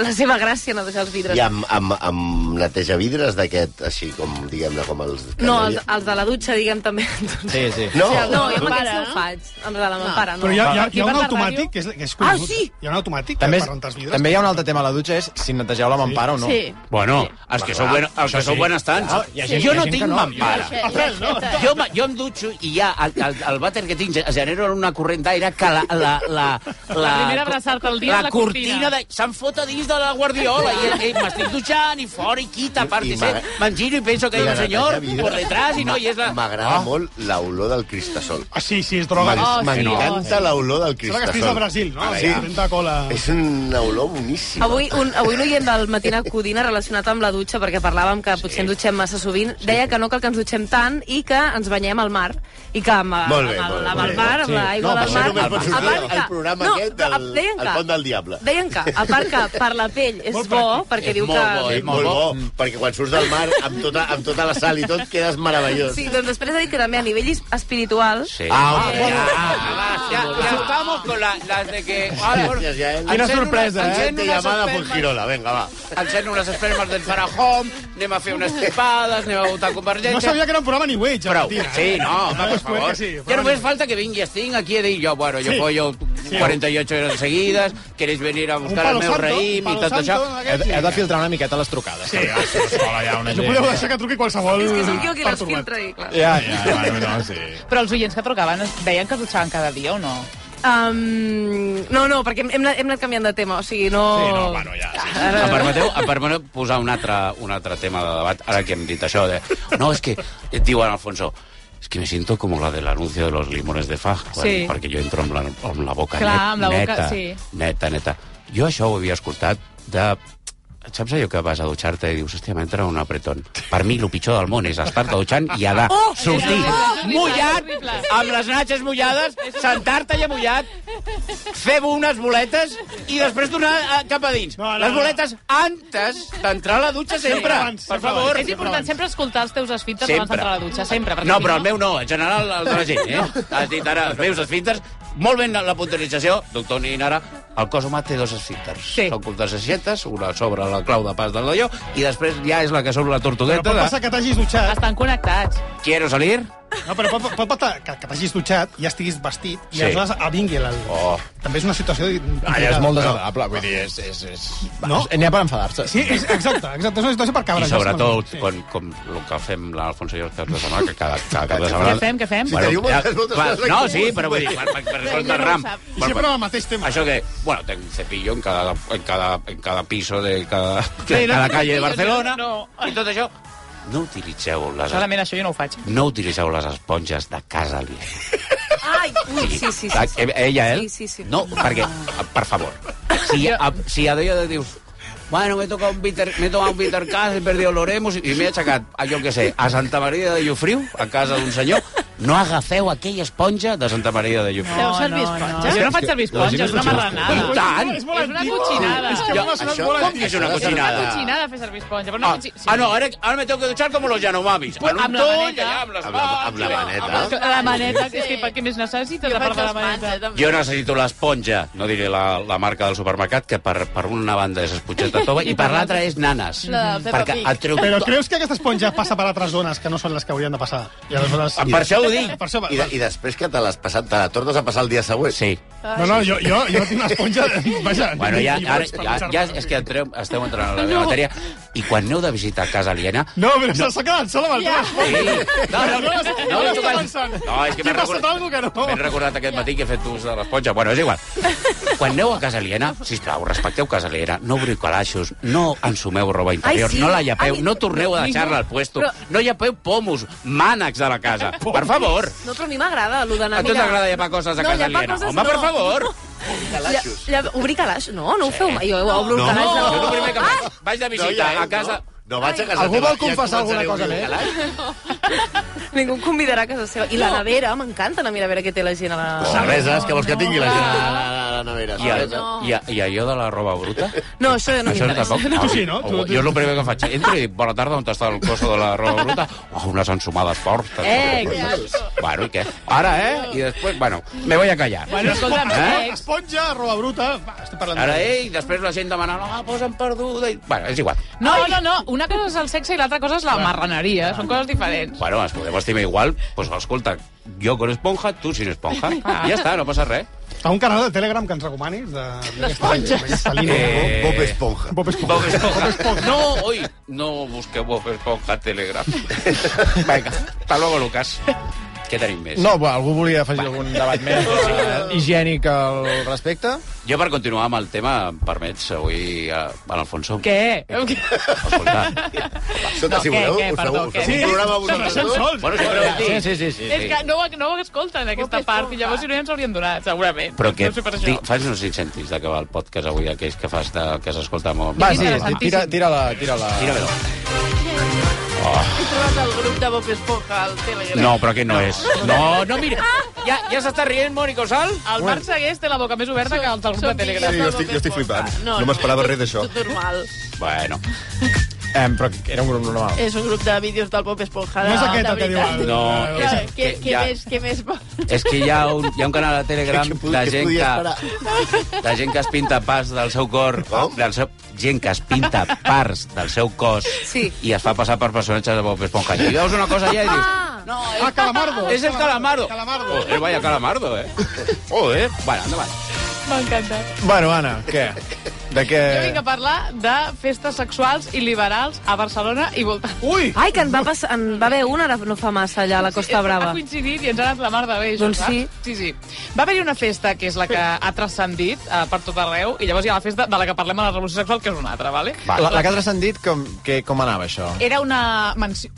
Speaker 6: la seva gràcia en netejar els vidres.
Speaker 3: I amb, amb, amb neteja vidres d'aquest, així com, diguem-ne, com els... que
Speaker 6: No, els,
Speaker 3: deia?
Speaker 6: els de la dutxa, diguem, també.
Speaker 3: Sí, sí. No.
Speaker 6: no jo amb aquests no ho faig. Amb el de la meva pare, no.
Speaker 12: Però hi ha, hi ha,
Speaker 6: Aquí
Speaker 12: hi ha
Speaker 6: per
Speaker 12: un
Speaker 6: la
Speaker 12: automàtic, que és, que és curiós.
Speaker 6: Ah, sí?
Speaker 12: Hi ha un automàtic
Speaker 1: També,
Speaker 12: també
Speaker 1: és,
Speaker 12: per rentar els vidres.
Speaker 1: també hi ha un altre tema a la dutxa, és si netegeu la mampara o no.
Speaker 12: Sí.
Speaker 2: Bueno, els que sou, buen, els que sou benestants.
Speaker 1: Ah, hi ha gent- hi
Speaker 2: jo
Speaker 1: ha
Speaker 2: no
Speaker 1: gent
Speaker 2: tinc
Speaker 1: que no.
Speaker 2: mampara.
Speaker 1: Jo- Apel, no?
Speaker 2: Jo, me- jo em dutxo i ja el, el, el vàter que tinc genera una corrent d'aire que la... La, la,
Speaker 13: La primera abraçada al dia és la cortina.
Speaker 2: de... Se'n fot a dins de la guardiola i, i m'estic dutxant i fora i quita, a part i
Speaker 3: I
Speaker 2: set.
Speaker 3: m'agra-
Speaker 2: Me'n giro i penso que
Speaker 3: I
Speaker 2: hi ha
Speaker 3: la
Speaker 2: un senyor
Speaker 3: neteja
Speaker 2: por
Speaker 3: vidres
Speaker 2: detrás i no, i és la...
Speaker 3: M'agrada
Speaker 2: Oh.
Speaker 3: molt l'olor del cristasol.
Speaker 12: Ah, sí, sí, és droga.
Speaker 3: M'en-
Speaker 12: Oh, sí,
Speaker 3: M'encanta
Speaker 12: oh, sí.
Speaker 3: l'olor
Speaker 12: Sembla
Speaker 3: del cristasol.
Speaker 12: que estiguis a Brasil, no?
Speaker 3: Ara,
Speaker 12: Sí. Tenta cola.
Speaker 3: És una olor boníssima.
Speaker 6: Avui un, avui un oient del Matina Codina relacionat amb la dutxa, perquè parlàvem que potser ens dutxem massa sovint, deia que no cal que ens dutxem tant i que ens banyem al mar. I que amb, eh,
Speaker 3: Molt bé,
Speaker 6: amb, el-
Speaker 3: molt bé,
Speaker 6: amb
Speaker 3: molt
Speaker 6: el
Speaker 3: bé.
Speaker 6: mar, amb
Speaker 3: Sí.
Speaker 6: l'aigua
Speaker 3: No,
Speaker 6: del
Speaker 3: però això
Speaker 6: mar...
Speaker 3: només pot sortir
Speaker 6: a part
Speaker 3: al programa aquest del-
Speaker 6: deien
Speaker 3: al Pont del Diable.
Speaker 6: Deien que, a part que per la pell és bo, perquè diu
Speaker 3: molt
Speaker 6: que...
Speaker 3: Bo, és molt bo, perquè quan surts del mar, amb tota, amb tota la sal i tot, quedes meravellós.
Speaker 6: Sí, doncs després ha dit que també a nivell espiritual...
Speaker 3: Sí. Ah, home,
Speaker 6: Eh,
Speaker 3: ja.
Speaker 2: Ya, ya estamos con la- las de que...
Speaker 3: Gràcies, Jael.
Speaker 2: Encén una-
Speaker 1: eh,
Speaker 2: encén
Speaker 3: Gente
Speaker 12: eh?
Speaker 2: unes
Speaker 3: llamada
Speaker 2: espermes.
Speaker 3: Fujirola, venga, va.
Speaker 2: Encén unes espermes del Farajón, anem a fer unes tripades, anem a votar Convergència...
Speaker 12: No sabia que era un programa ni wage,
Speaker 2: Prou.
Speaker 12: Martina.
Speaker 2: Sí, no, home,
Speaker 12: Ara
Speaker 2: per
Speaker 12: us crec
Speaker 2: favor.
Speaker 12: que sí,
Speaker 2: ja
Speaker 12: però
Speaker 2: només falta que vingui Sting aquí a dir jo, bueno, yo
Speaker 12: Sí.
Speaker 2: pollo 48 horas seguidas, queréis venir a buscar el
Speaker 1: palo
Speaker 2: meu
Speaker 1: santo,
Speaker 2: raïm
Speaker 1: un
Speaker 2: i
Speaker 1: palo
Speaker 2: tot
Speaker 1: santo,
Speaker 2: això.
Speaker 1: Heu, de- heu de filtrar una miqueta les trucades. Sí, a l'escola hi ha una
Speaker 12: No
Speaker 1: gent.
Speaker 12: podeu deixar que truqui qualsevol...
Speaker 13: És que
Speaker 3: Mm.
Speaker 13: sóc jo qui les filtra i, clar.
Speaker 1: Ja, ja, bueno, no, sí.
Speaker 13: Però els oients que trucaven es deien que es dutxaven cada dia o no?
Speaker 6: Um, no, no, perquè hem, hem anat- hem anat canviant de tema, o sigui, no... Sí, no,
Speaker 1: bueno, ja.
Speaker 2: Em permeteu, em permeteu posar un altre, un altre tema de debat, ara que hem dit això. De... No, és que, et diuen, Alfonso, es que me siento como la del anuncio de los limones de Faj,
Speaker 13: Sí.
Speaker 2: sí. perquè jo entro amb la, amb la boca
Speaker 13: Clar,
Speaker 2: net-
Speaker 13: amb la boca,
Speaker 2: neta,
Speaker 13: sí.
Speaker 2: neta, neta. Jo això ho havia escoltat de... Saps allò que vas a dutxar-te i dius, hòstia, m'entra un apretón. Per mi, el pitjor del món és estar-te dutxant i ha de
Speaker 13: Oh!
Speaker 2: sortir
Speaker 13: Oh!
Speaker 2: mullat,
Speaker 13: Horrible.
Speaker 2: amb les natxes mullades, sentar-te ja mullat, fer unes boletes i després tornar eh, cap a dins.
Speaker 13: no,
Speaker 2: les
Speaker 13: no.
Speaker 2: boletes antes d'entrar a la dutxa sempre, per favor.
Speaker 13: És important sempre escoltar els teus esfintes
Speaker 2: Sempre.
Speaker 13: abans d'entrar a la dutxa, sempre. perquè
Speaker 2: No,
Speaker 13: si
Speaker 2: però el meu no, en general el de la gent, eh? Has dit ara els meus esfínters, molt ben la puntualització, doctor Ninara, el cos humà té dos esfínters. Sí. Són curtes aixetes, una sobre la clau de pas del d'allò, i després ja és la que sobre la
Speaker 12: Pot
Speaker 2: tortugueta
Speaker 12: passar
Speaker 2: de...
Speaker 12: que t'hagis dutxat.
Speaker 13: Estan connectats.
Speaker 2: Quiero salir?
Speaker 12: No, però pot, pot passar que, que t'hagis dutxat i ja estiguis vestit i
Speaker 2: Sí.
Speaker 12: sí. aleshores avingui el...
Speaker 2: Oh.
Speaker 12: També és una situació...
Speaker 1: Allà és
Speaker 12: desagradable.
Speaker 1: molt desagradable, vull dir, és... és, és...
Speaker 12: No?
Speaker 1: N'hi ha per enfadar-se.
Speaker 12: Sí, és, exacte, exacte, és una situació per
Speaker 2: I
Speaker 12: cabrejar.
Speaker 2: sobretot, quan, com el que fem l'Alfonso i el Carles de Samà, que cada, cada cap de setmana...
Speaker 13: Què fem, què fem? Si
Speaker 12: teniu moltes voltes
Speaker 2: clar,
Speaker 12: coses aquí,
Speaker 2: no,
Speaker 12: com
Speaker 2: sí,
Speaker 12: ho
Speaker 2: però vull dir, per, per, per, per, per ram.
Speaker 12: I sempre amb el mateix tema.
Speaker 2: Això que, bueno, tenc un cepillo en cada, en cada, en cada piso de cada, de
Speaker 13: no
Speaker 2: cada
Speaker 13: tinc
Speaker 2: calle de
Speaker 13: cepillos,
Speaker 2: Barcelona.
Speaker 13: no.
Speaker 2: I tot això... No utilitzeu les...
Speaker 13: Solament això jo no ho faig.
Speaker 2: No utilitzeu les esponges de casa aliena.
Speaker 6: Ai, ui, sí, sí, sí.
Speaker 2: Ah,
Speaker 6: sí.
Speaker 2: eh, Ella, él?
Speaker 6: Sí, sí, sí.
Speaker 2: No, perquè, ah, per favor, si, a, si a dia de dius Bueno, me he tocado un bitter, me he tomado un bitter cas, he perdido l'oremus i m'he aixecat, a, jo què sé, a Santa Maria de Llofriu, a casa d'un senyor, no agafeu aquella esponja de Santa Maria de Llofriu.
Speaker 13: Feu servir esponja? Jo no faig servir esponja, és una marranada.
Speaker 2: I tant!
Speaker 13: És una cotxinada.
Speaker 2: És que m'ha sonat
Speaker 13: Això-
Speaker 2: molt antic.
Speaker 13: és una cotxinada.
Speaker 2: És
Speaker 13: És
Speaker 2: una
Speaker 13: una cotxinada fer servir esponja. Però no
Speaker 2: Ah,
Speaker 13: cotxi- sí.
Speaker 2: ah, no, ara, ara me tengo que duchar como los Yanomamis.
Speaker 13: Pues,
Speaker 2: Amb,
Speaker 13: amb
Speaker 2: amb
Speaker 13: la
Speaker 2: toll,
Speaker 13: maneta.
Speaker 2: allà, amb les
Speaker 3: Amb la, Ah, amb la
Speaker 2: mans.
Speaker 3: maneta.
Speaker 13: La maneta, és que per què més necessites a part de la maneta?
Speaker 2: Jo necessito l'esponja, no diré la, la marca del supermercat, que per, per una banda és esponjeta tova i per l'altra és nanes.
Speaker 12: La de Peppa
Speaker 2: perquè
Speaker 12: Pig.
Speaker 2: et truc...
Speaker 12: Però creus que aquesta esponja passa per altres zones que no són les que haurien de passar? I aleshores...
Speaker 3: Per això ho dic.
Speaker 12: Per això...
Speaker 3: I, de, I després que te l'has passat, te la tornes a passar el dia següent.
Speaker 2: Sí.
Speaker 12: No, no, jo, jo, jo tinc una esponja... Vaja,
Speaker 2: Bueno, ja,
Speaker 12: i
Speaker 2: ara,
Speaker 12: vaig
Speaker 2: ja, ja és que entreu, esteu entrant en la
Speaker 12: No.
Speaker 2: meva matèria i quan aneu de visitar casa aliena...
Speaker 12: No, però no. s'ha quedat sola amb el teu
Speaker 2: Sí. No, no, no, no, no,
Speaker 12: no,
Speaker 2: no,
Speaker 12: està pensant.
Speaker 2: no, és que
Speaker 12: Aquí
Speaker 2: m'he
Speaker 12: ha passat
Speaker 2: recordat,
Speaker 12: alguna que
Speaker 6: Oh.
Speaker 12: no.
Speaker 2: m'he recordat aquest matí que he fet ús de l'esponja. Bueno, és igual. Quan aneu a casa aliena, sisplau, respecteu casa aliena, no obriu calaixos, no ensumeu roba interior,
Speaker 6: Ai, sí.
Speaker 2: no la llapeu,
Speaker 6: Ai,
Speaker 2: no torneu a
Speaker 6: no,
Speaker 2: deixar-la al
Speaker 6: no.
Speaker 2: puesto,
Speaker 6: Però-
Speaker 2: no llapeu pomos, mànecs de la casa. Per favor.
Speaker 6: No, però a mi m'agrada, allò d'anar
Speaker 2: A tu
Speaker 6: mirant.
Speaker 2: t'agrada llepar coses a
Speaker 6: no,
Speaker 2: casa
Speaker 6: llepar
Speaker 2: aliena.
Speaker 6: Coses,
Speaker 2: Home,
Speaker 6: no.
Speaker 2: per favor.
Speaker 6: Lla, lla, obrir calaix. No, no ho feu mai. Jo obro
Speaker 3: No.
Speaker 6: el calaix.
Speaker 3: No, jo
Speaker 2: el primer que faig,
Speaker 6: Ah!
Speaker 2: vaig de visita
Speaker 3: ja, eh,
Speaker 2: a casa...
Speaker 3: No, vaig a casa
Speaker 2: Algú
Speaker 3: teva
Speaker 2: vol
Speaker 3: i
Speaker 2: confessar alguna
Speaker 3: començaré a obrir
Speaker 2: cosa
Speaker 3: el calaix.
Speaker 6: Ningú em convidarà a casa seva. I la nevera, m'encanta la nevera que té la gent a la...
Speaker 3: Cerveses, que vols que tingui la gent a la, a la, a la nevera?
Speaker 2: I, el,
Speaker 3: cervesa.
Speaker 2: i, i allò de la roba bruta?
Speaker 6: No, això no
Speaker 2: Això no
Speaker 6: m'interessa.
Speaker 2: tampoc. Oh, jo és el primer que faig. Entro i dic, bona tarda, on està el coso de la roba bruta? Oh, unes ensumades fortes.
Speaker 6: Eh,
Speaker 2: Bueno, i què? Ara, eh? I després, bueno, me voy a callar.
Speaker 12: Bueno, escolta'm, eh?
Speaker 2: eh?
Speaker 12: Esponja, roba bruta... Va, estic parlant
Speaker 2: Ara,
Speaker 12: de-
Speaker 2: ei, després la gent demana, no, posa'm perduda. I... Bueno, és igual.
Speaker 13: No, no, no, una cosa és el sexe i l'altra cosa és la marraneria, són coses diferents.
Speaker 2: Bueno, ens podem estimar igual, doncs pues, escolta, jo con esponja, tu sin esponja.
Speaker 13: Ah.
Speaker 2: I ja està, no passa res.
Speaker 12: Hi ha un canal de Telegram que ens recomanis? De... D'aquesta línia.
Speaker 2: Eh,
Speaker 12: Bob
Speaker 3: Esponja.
Speaker 12: Bob Esponja. Bob
Speaker 2: No, oi, no busqueu Bob Esponja a Telegram. Vinga, hasta luego, Lucas. Què tenim més?
Speaker 1: No, va, algú volia afegir algun debat més eh, higiènic al respecte?
Speaker 2: Jo, per continuar amb el tema, em permets avui, eh, en Alfonso? Eh,
Speaker 13: Què?
Speaker 3: Escolta,
Speaker 2: No,
Speaker 3: si
Speaker 2: què,
Speaker 3: voleu,
Speaker 2: què,
Speaker 3: us
Speaker 2: perdó,
Speaker 3: feu- us
Speaker 2: què?
Speaker 3: feu un
Speaker 2: Sí, se
Speaker 3: programa vosaltres
Speaker 2: deixen
Speaker 3: dos?
Speaker 2: sols. Bueno, sí, però
Speaker 3: Sí,
Speaker 2: sí, sí, sí, sí.
Speaker 13: És que no, no ho escolten, aquesta part, i llavors si no ja ens haurien donat, segurament.
Speaker 2: Però que
Speaker 13: No sé per
Speaker 2: di,
Speaker 13: això.
Speaker 2: fas uns incentius d'acabar el podcast avui, aquells que fas de, que s'escolta molt.
Speaker 1: Va, sí, tira- tira-la, tira-la.
Speaker 2: Tira-la.
Speaker 5: He trobat el grup de Bob Esponja al Telegram.
Speaker 2: No, però aquest no, és. No, no, mira. Ja, ja s'està rient, Mònica Osal.
Speaker 13: El Marc Segués té la boca més oberta que els del grup de Telegram.
Speaker 14: Sí, jo estic, jo estic flipant.
Speaker 5: No,
Speaker 14: No, no m'esperava res d'això.
Speaker 5: Tot normal.
Speaker 2: Bueno.
Speaker 1: Eh, però era un grup normal.
Speaker 5: És un grup de vídeos del Bob Esponja.
Speaker 1: No és
Speaker 5: de-
Speaker 1: aquest
Speaker 5: de
Speaker 1: el que diu
Speaker 5: veritat.
Speaker 2: el- No,
Speaker 5: Clar,
Speaker 2: és-
Speaker 5: Què,
Speaker 2: que
Speaker 5: què,
Speaker 2: ja-
Speaker 5: més, què més vol?
Speaker 2: És que hi ha un, hi ha un canal de Telegram de gent que, de gent que es pinta parts del seu cor, del seu, gent que es pinta parts del seu cos
Speaker 6: Sí.
Speaker 2: i es fa passar per personatges de Bob Esponja. I veus una cosa allà i dius...
Speaker 12: No, és... Ah, Calamardo.
Speaker 2: És el Calamardo.
Speaker 12: Calamardo.
Speaker 2: Joder, vaya calamardo, eh? Joder. Bueno, endavant.
Speaker 13: M'encanta.
Speaker 1: Bueno, Anna, què? De què...
Speaker 13: Jo vinc a parlar de festes sexuals i liberals a Barcelona i voltant.
Speaker 1: Ui!
Speaker 6: Ai, que en va, passar, en va haver una ara no fa massa allà a la Costa Brava.
Speaker 13: Ha coincidit i ens ha anat la mar de bé. això,
Speaker 6: Doncs
Speaker 13: clar.
Speaker 6: sí.
Speaker 13: sí, sí. Va haver-hi una festa que és la que ha transcendit eh, per tot arreu i llavors hi ha la festa de la que parlem a la Revolució Sexual, que és una altra, vale?
Speaker 1: La, la que ha transcendit, com, que, com anava això?
Speaker 13: Era una mansió...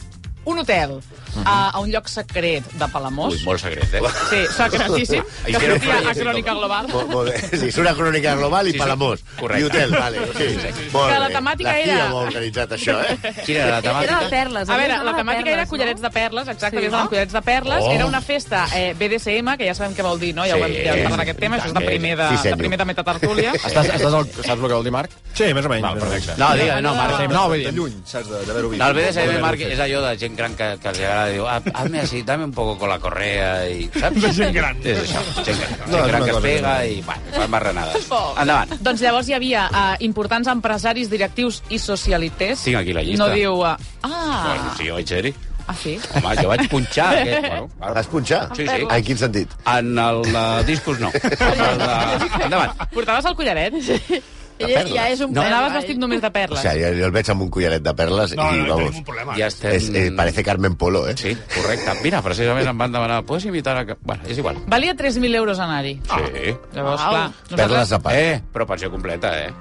Speaker 13: Un hotel
Speaker 3: Mhm.
Speaker 13: eh, a, a un lloc secret de Palamós.
Speaker 2: Ui, molt secret, eh?
Speaker 13: Sí, secretíssim.
Speaker 3: Ai,
Speaker 13: Que
Speaker 3: sí, no,
Speaker 13: sortia
Speaker 3: no,
Speaker 13: a Crònica Global.
Speaker 3: Molt, molt bé. Sí, és una crònica global i
Speaker 2: Sí, sí.
Speaker 3: Palamós.
Speaker 2: Correcte.
Speaker 3: I hotel, vale. Sí,
Speaker 2: Sí, sí.
Speaker 3: molt
Speaker 13: Que la
Speaker 3: bé.
Speaker 13: temàtica
Speaker 3: la
Speaker 13: era-
Speaker 3: tia m'ha organitzat això, eh?
Speaker 2: Quina era la temàtica?
Speaker 6: perles,
Speaker 13: A
Speaker 6: havia
Speaker 13: veure,
Speaker 6: d'anar
Speaker 13: la
Speaker 6: de
Speaker 13: temàtica era
Speaker 6: perles, no?
Speaker 13: collarets de perles, exacte,
Speaker 6: Sí,
Speaker 13: sí,
Speaker 6: no?
Speaker 13: no? collarets de perles.
Speaker 2: Oh.
Speaker 13: Era una festa eh, BDSM, que ja sabem què vol dir, no? Ja ho vam
Speaker 2: Sí,
Speaker 13: ja vam parlar d'aquest tema,
Speaker 2: i
Speaker 13: això és
Speaker 2: tant
Speaker 13: de
Speaker 2: que-
Speaker 13: primer de,
Speaker 2: sí,
Speaker 13: de,
Speaker 2: senyor.
Speaker 13: primer de metatartúlia.
Speaker 1: Estàs, estàs al, saps el que vol dir, Marc? Sí, més o menys. Val, perfecte.
Speaker 2: No, digue, no, Marc.
Speaker 1: No, vull dir...
Speaker 14: Lluny, saps, de- d'haver-ho vist.
Speaker 2: No, el BDSM, Marc, és allò de gent gran que, que els agrada. Diu, ah, hazme así, dame un poco con la correa i... Saps?
Speaker 14: De gent gran.
Speaker 2: És això, gent gran.
Speaker 14: No,
Speaker 2: gent
Speaker 14: és una
Speaker 2: gran que
Speaker 14: cosa
Speaker 2: es pega
Speaker 14: que
Speaker 2: i, bueno, fan marranades.
Speaker 13: Pobre.
Speaker 2: Endavant.
Speaker 13: Doncs llavors hi havia eh, importants empresaris, directius i socialites.
Speaker 2: Tinc aquí la llista.
Speaker 13: No diu... Eh, ah,
Speaker 2: Bueno, sí, oi, Xeri?
Speaker 13: ah, sí?
Speaker 2: Home, jo vaig punxar aquest. Bueno,
Speaker 3: Ara Vas punxar?
Speaker 2: Sí, sí.
Speaker 3: En quin sentit?
Speaker 2: en el de discos no. En el de... Endavant.
Speaker 13: Portaves el collaret? Sí.
Speaker 5: Ja, ja és un
Speaker 2: No.
Speaker 5: pèl,
Speaker 13: Anaves
Speaker 5: vai.
Speaker 13: vestit només de
Speaker 3: O
Speaker 13: perles.
Speaker 3: sigui, jo, jo el veig amb un collaret de perles
Speaker 12: No, no, no
Speaker 3: i,
Speaker 12: tenim
Speaker 3: vamos,
Speaker 12: un problema.
Speaker 2: Ja estem...
Speaker 3: és, eh, parece Carmen Polo, eh?
Speaker 2: Sí, correcte. Mira, precisament em van demanar, pots imitar a... que-" Bueno, és igual.
Speaker 13: Valia 3.000 euros anar-hi.
Speaker 2: Sí.
Speaker 13: Ah. Llavors,
Speaker 5: Au.
Speaker 13: clar...
Speaker 3: Perles a part.
Speaker 2: Eh, però pensió completa, eh?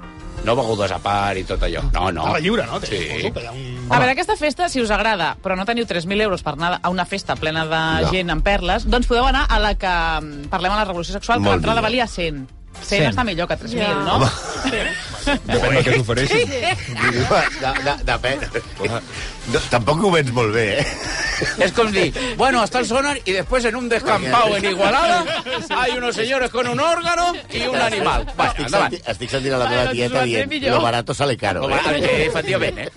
Speaker 2: No begudes a part i tot allò. No, no.
Speaker 13: Ah,
Speaker 12: Estava lliure, no?
Speaker 2: Sí.
Speaker 12: Suposo que hi ha un...
Speaker 13: A veure, aquesta festa, si us agrada, però no teniu 3.000 euros per anar a una festa plena de
Speaker 3: No.
Speaker 13: gent amb perles, doncs podeu anar a la que mm, parlem a la Revolució Sexual, que
Speaker 3: Molt
Speaker 13: l'entrada
Speaker 3: millor.
Speaker 13: valia 100. 100,
Speaker 1: Cent.
Speaker 13: està millor que 3.000,
Speaker 5: Ja.
Speaker 13: no?
Speaker 3: Home.
Speaker 14: Depèn del que t'ofereixin.
Speaker 3: De, de, depèn. No, tampoc ho vens molt bé, eh?
Speaker 2: Es como si, bueno, hasta el sonar y después en un descampado en Igualada hay unos señores con un órgano y un animal. Bueno,
Speaker 3: estic,
Speaker 2: endavant.
Speaker 3: senti, estic sentint a la
Speaker 13: Bueno,
Speaker 3: meva
Speaker 13: ens ho
Speaker 3: tieta
Speaker 13: van fer
Speaker 3: dient
Speaker 13: millor.
Speaker 3: lo barato sale caro.
Speaker 2: Home, eh,
Speaker 3: Eh?
Speaker 2: efectivament, eh?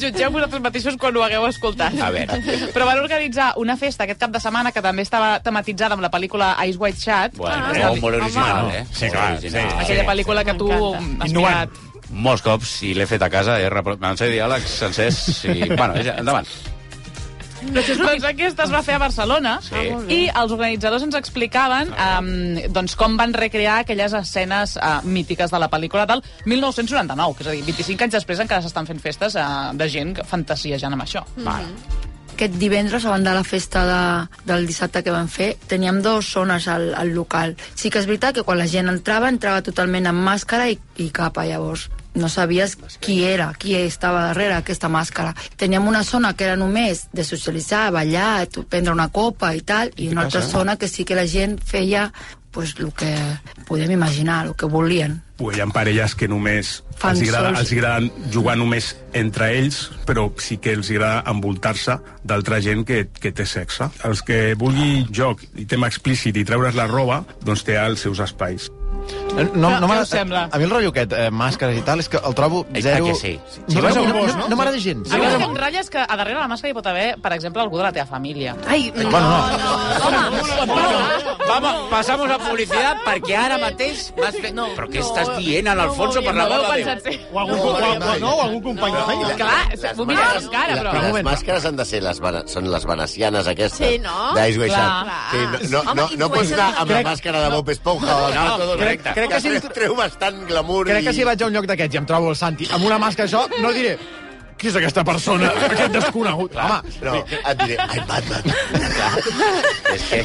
Speaker 13: Jutgeu vosaltres mateixos quan ho hagueu escoltat.
Speaker 2: A veure.
Speaker 13: Però van organitzar una festa aquest cap de setmana que també estava tematitzada amb la pel·lícula Ice White Chat.
Speaker 2: Bueno,
Speaker 13: És a dir,
Speaker 2: molt original,
Speaker 13: home,
Speaker 2: eh?
Speaker 1: Sí,
Speaker 2: Molt
Speaker 1: clar,
Speaker 2: original.
Speaker 13: Aquella pel·lícula que tu
Speaker 5: M'encanta.
Speaker 13: has
Speaker 1: Innovant.
Speaker 13: mirat.
Speaker 2: Molts cops, i l'he fet a casa, eh? repro- Van ser diàlegs sencers i... Bueno, és- endavant.
Speaker 13: doncs aquesta es va fer a Barcelona
Speaker 2: Sí. Ah, molt
Speaker 13: i els organitzadors ens explicaven um, doncs com van recrear aquelles escenes uh, mítiques de la pel·lícula del 1999, que és a dir, 25 anys després encara s'estan fent festes uh, de gent que fantasiejant amb això.
Speaker 15: Aquest divendres, abans de la festa de, del dissabte que vam fer, teníem dues zones al, al local. Sí que és veritat que quan la gent entrava, entrava totalment amb màscara i, i capa, llavors no sabies qui era, qui estava darrere aquesta màscara. Teníem una zona que era només de socialitzar, ballar, tu- prendre una copa i tal, i una altra
Speaker 16: passa?
Speaker 15: zona que sí que la gent feia pues, el que podem imaginar, el que volien.
Speaker 16: Pues hi ha parelles que només
Speaker 15: Fan
Speaker 16: els agrada,
Speaker 15: sols.
Speaker 16: els agraden jugar només entre ells, però sí que els agrada envoltar-se d'altra gent que, que té sexe. Els que vulgui joc i tema explícit i treure's la roba, doncs té els seus espais.
Speaker 1: Eh, No, no,
Speaker 16: Què
Speaker 1: m'agrada-
Speaker 16: us sembla?
Speaker 1: A mi el rotllo aquest, eh, màscares i tal, és que el trobo
Speaker 2: Eh,
Speaker 1: zero...
Speaker 2: que sí?
Speaker 1: No,
Speaker 2: Si vas a
Speaker 1: no,
Speaker 2: un
Speaker 1: no,
Speaker 2: bosc,
Speaker 1: no,
Speaker 2: no?
Speaker 1: no m'agrada gens.
Speaker 13: A mi el que em ratlla és que a darrere la màscara hi pot haver, per exemple, algú de la teva família.
Speaker 6: Ai,
Speaker 1: no, Bueno, no.
Speaker 2: Vamos, pasamos a publicidad perquè ara mateix vas fer... No, Però què estàs dient, en Alfonso, per la meva de Déu?
Speaker 12: O algun, no, o, o, no, o algun company de feina.
Speaker 6: Clar, m'ho mires amb cara, però...
Speaker 3: Les màscares han de ser les, vana- són les venecianes aquestes.
Speaker 6: Sí, no?
Speaker 3: D'Ice Way
Speaker 6: Clar.
Speaker 3: Shark. Sí, no, no,
Speaker 6: Home,
Speaker 3: no, no pots anar amb la
Speaker 1: Crec-
Speaker 3: màscara de Bob Esponja o
Speaker 1: No,
Speaker 3: no,
Speaker 1: crec- crec que
Speaker 3: que,
Speaker 1: si
Speaker 3: treu, treu bastant glamour
Speaker 1: Crec que
Speaker 3: i...
Speaker 1: si vaig a un lloc d'aquests i em trobo el Santi amb una màscara això, no diré qui és aquesta persona, aquest desconegut. Home,
Speaker 3: No, et diré, ai, Batman. és que...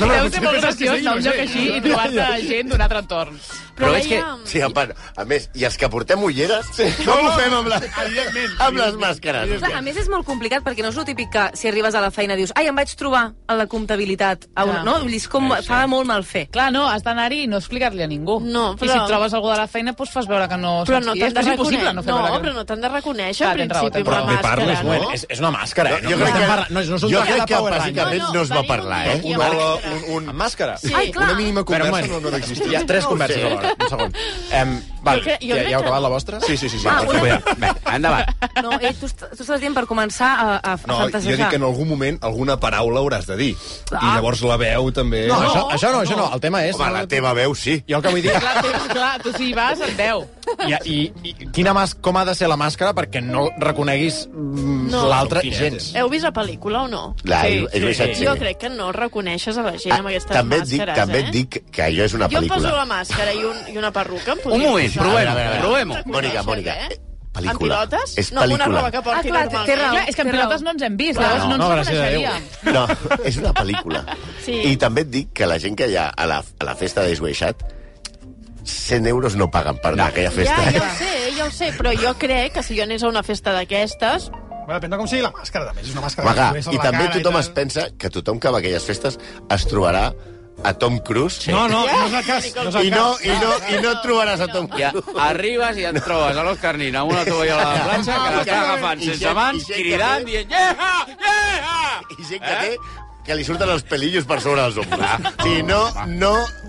Speaker 13: No, Deu ser molt graciós anar a un lloc així i trobar-te gent d'un altre entorn.
Speaker 3: Però és que... Sí, a, part, a més, i els que portem ulleres, sí. com ho fem amb, la, amb les màscares?
Speaker 6: Clar, a més és molt complicat perquè no és el típic que si arribes a la feina dius ai, em vaig trobar a la comptabilitat. A una,
Speaker 13: Clar.
Speaker 6: no? Vull dir, És com, fa molt mal fer.
Speaker 13: Clar, no, has d'anar-hi i no explicar-li a ningú. No,
Speaker 6: però-
Speaker 13: I si et trobes algú de la feina, doncs fas veure que no...
Speaker 5: Però
Speaker 13: saps
Speaker 5: no t'han
Speaker 13: qui és.
Speaker 5: de
Speaker 13: Però és impossible
Speaker 5: reconèixer.
Speaker 13: no fer
Speaker 5: No,
Speaker 13: veure que
Speaker 5: però no t'han de reconèixer,
Speaker 13: Clar,
Speaker 5: al
Speaker 13: tens raó,
Speaker 5: principi,
Speaker 13: tens
Speaker 5: amb la
Speaker 13: raó.
Speaker 1: Bé, parles,
Speaker 5: màscara,
Speaker 1: no?
Speaker 5: no?
Speaker 1: És, és una màscara, eh?
Speaker 3: Jo crec
Speaker 1: estem
Speaker 3: que-
Speaker 1: parlant- no, és- no és un
Speaker 3: jo
Speaker 1: joc
Speaker 3: crec
Speaker 1: de
Speaker 3: que
Speaker 1: Power Rangers.
Speaker 3: bàsicament no, no es va parlar, eh?
Speaker 1: Un
Speaker 3: Marc,
Speaker 1: hora-
Speaker 14: un,
Speaker 1: Amb màscara?
Speaker 5: Sí. Ai, clar.
Speaker 14: Una mínima conversa
Speaker 1: Però,
Speaker 14: no- no ha d'existir.
Speaker 1: Hi ha tres
Speaker 14: No ho
Speaker 1: converses
Speaker 14: sé.
Speaker 1: alhora. Un segon. Em, val,
Speaker 6: Jo crec- jo
Speaker 1: ja,
Speaker 6: crec
Speaker 1: ja heu
Speaker 6: que-
Speaker 1: acabat la vostra?
Speaker 14: Sí, sí, sí. sí.
Speaker 6: Ah, una-
Speaker 14: Vinga,
Speaker 2: Endavant.
Speaker 6: No, eh, tu, est- tu estàs dient per començar a, a
Speaker 14: No, jo
Speaker 6: fantasejar.
Speaker 14: dic que en algun moment alguna paraula hauràs de dir. I
Speaker 13: Ah.
Speaker 14: llavors la veu també...
Speaker 1: No, Eh, això, això no, això no. El tema és...
Speaker 3: Home, la teva veu sí.
Speaker 1: Jo el que vull dir...
Speaker 13: Clar, tu, clar, tu si hi vas, et deu.
Speaker 1: I, i, i quina mas, com ha de ser la màscara perquè no reconeguis mm,
Speaker 5: No.
Speaker 1: l'altre
Speaker 5: Quina
Speaker 1: gens?
Speaker 5: Heu vist la pel·lícula o no?
Speaker 3: La- Sí, és veritat, sí.
Speaker 5: Jo crec que no reconeixes a la gent amb aquestes
Speaker 3: Ah, També et dic,
Speaker 5: màscares,
Speaker 3: també
Speaker 5: eh?
Speaker 3: et dic que allò és una
Speaker 5: jo em poso
Speaker 3: pel·lícula.
Speaker 5: la màscara i, un, i una perruca. Em
Speaker 3: Un moment, provem-ho, provem-ho. Mònica,
Speaker 5: Mònica,
Speaker 3: Mònica, eh, pel·lícula.
Speaker 5: Amb pilotes?
Speaker 3: És
Speaker 5: no, amb una
Speaker 3: pel·lícula.
Speaker 5: roba que porti
Speaker 13: Ah, clar, té-
Speaker 5: normal.
Speaker 13: té raó, Clar, és que amb té raó. pilotes no ens hem vist, Clar. llavors no ens reconeixeríem.
Speaker 3: No, és una pel·lícula.
Speaker 5: Sí.
Speaker 3: I també et dic que la gent que hi ha a la, a la festa d'Ace Way Chat, 100 euros no paguen per anar a aquella
Speaker 5: Ja,
Speaker 3: festa.
Speaker 5: ja ho sé, ja ho sé, però jo crec que si jo anés a una festa d'aquestes...
Speaker 12: Bueno, depèn de com sigui la màscara, també. És una màscara
Speaker 3: Vaga,
Speaker 12: que
Speaker 3: i també tothom es pensa que tothom que va a aquelles festes es trobarà a Tom Cruise.
Speaker 12: No, no, no és el cas. No és el
Speaker 3: I no,
Speaker 12: cas.
Speaker 3: i no, i no et trobaràs a Tom
Speaker 2: Ja,
Speaker 3: Cruise.
Speaker 2: arribes i et trobes a l'Òscar Nina amb una tovallola de platja que l'està agafant
Speaker 3: I
Speaker 2: sense
Speaker 3: gent- i
Speaker 2: mans,
Speaker 3: gent que
Speaker 2: cridant,
Speaker 3: té-
Speaker 2: dient yeah, yeah!
Speaker 3: I gent que té que li surten els pelillos per sobre dels ombres. Si no, no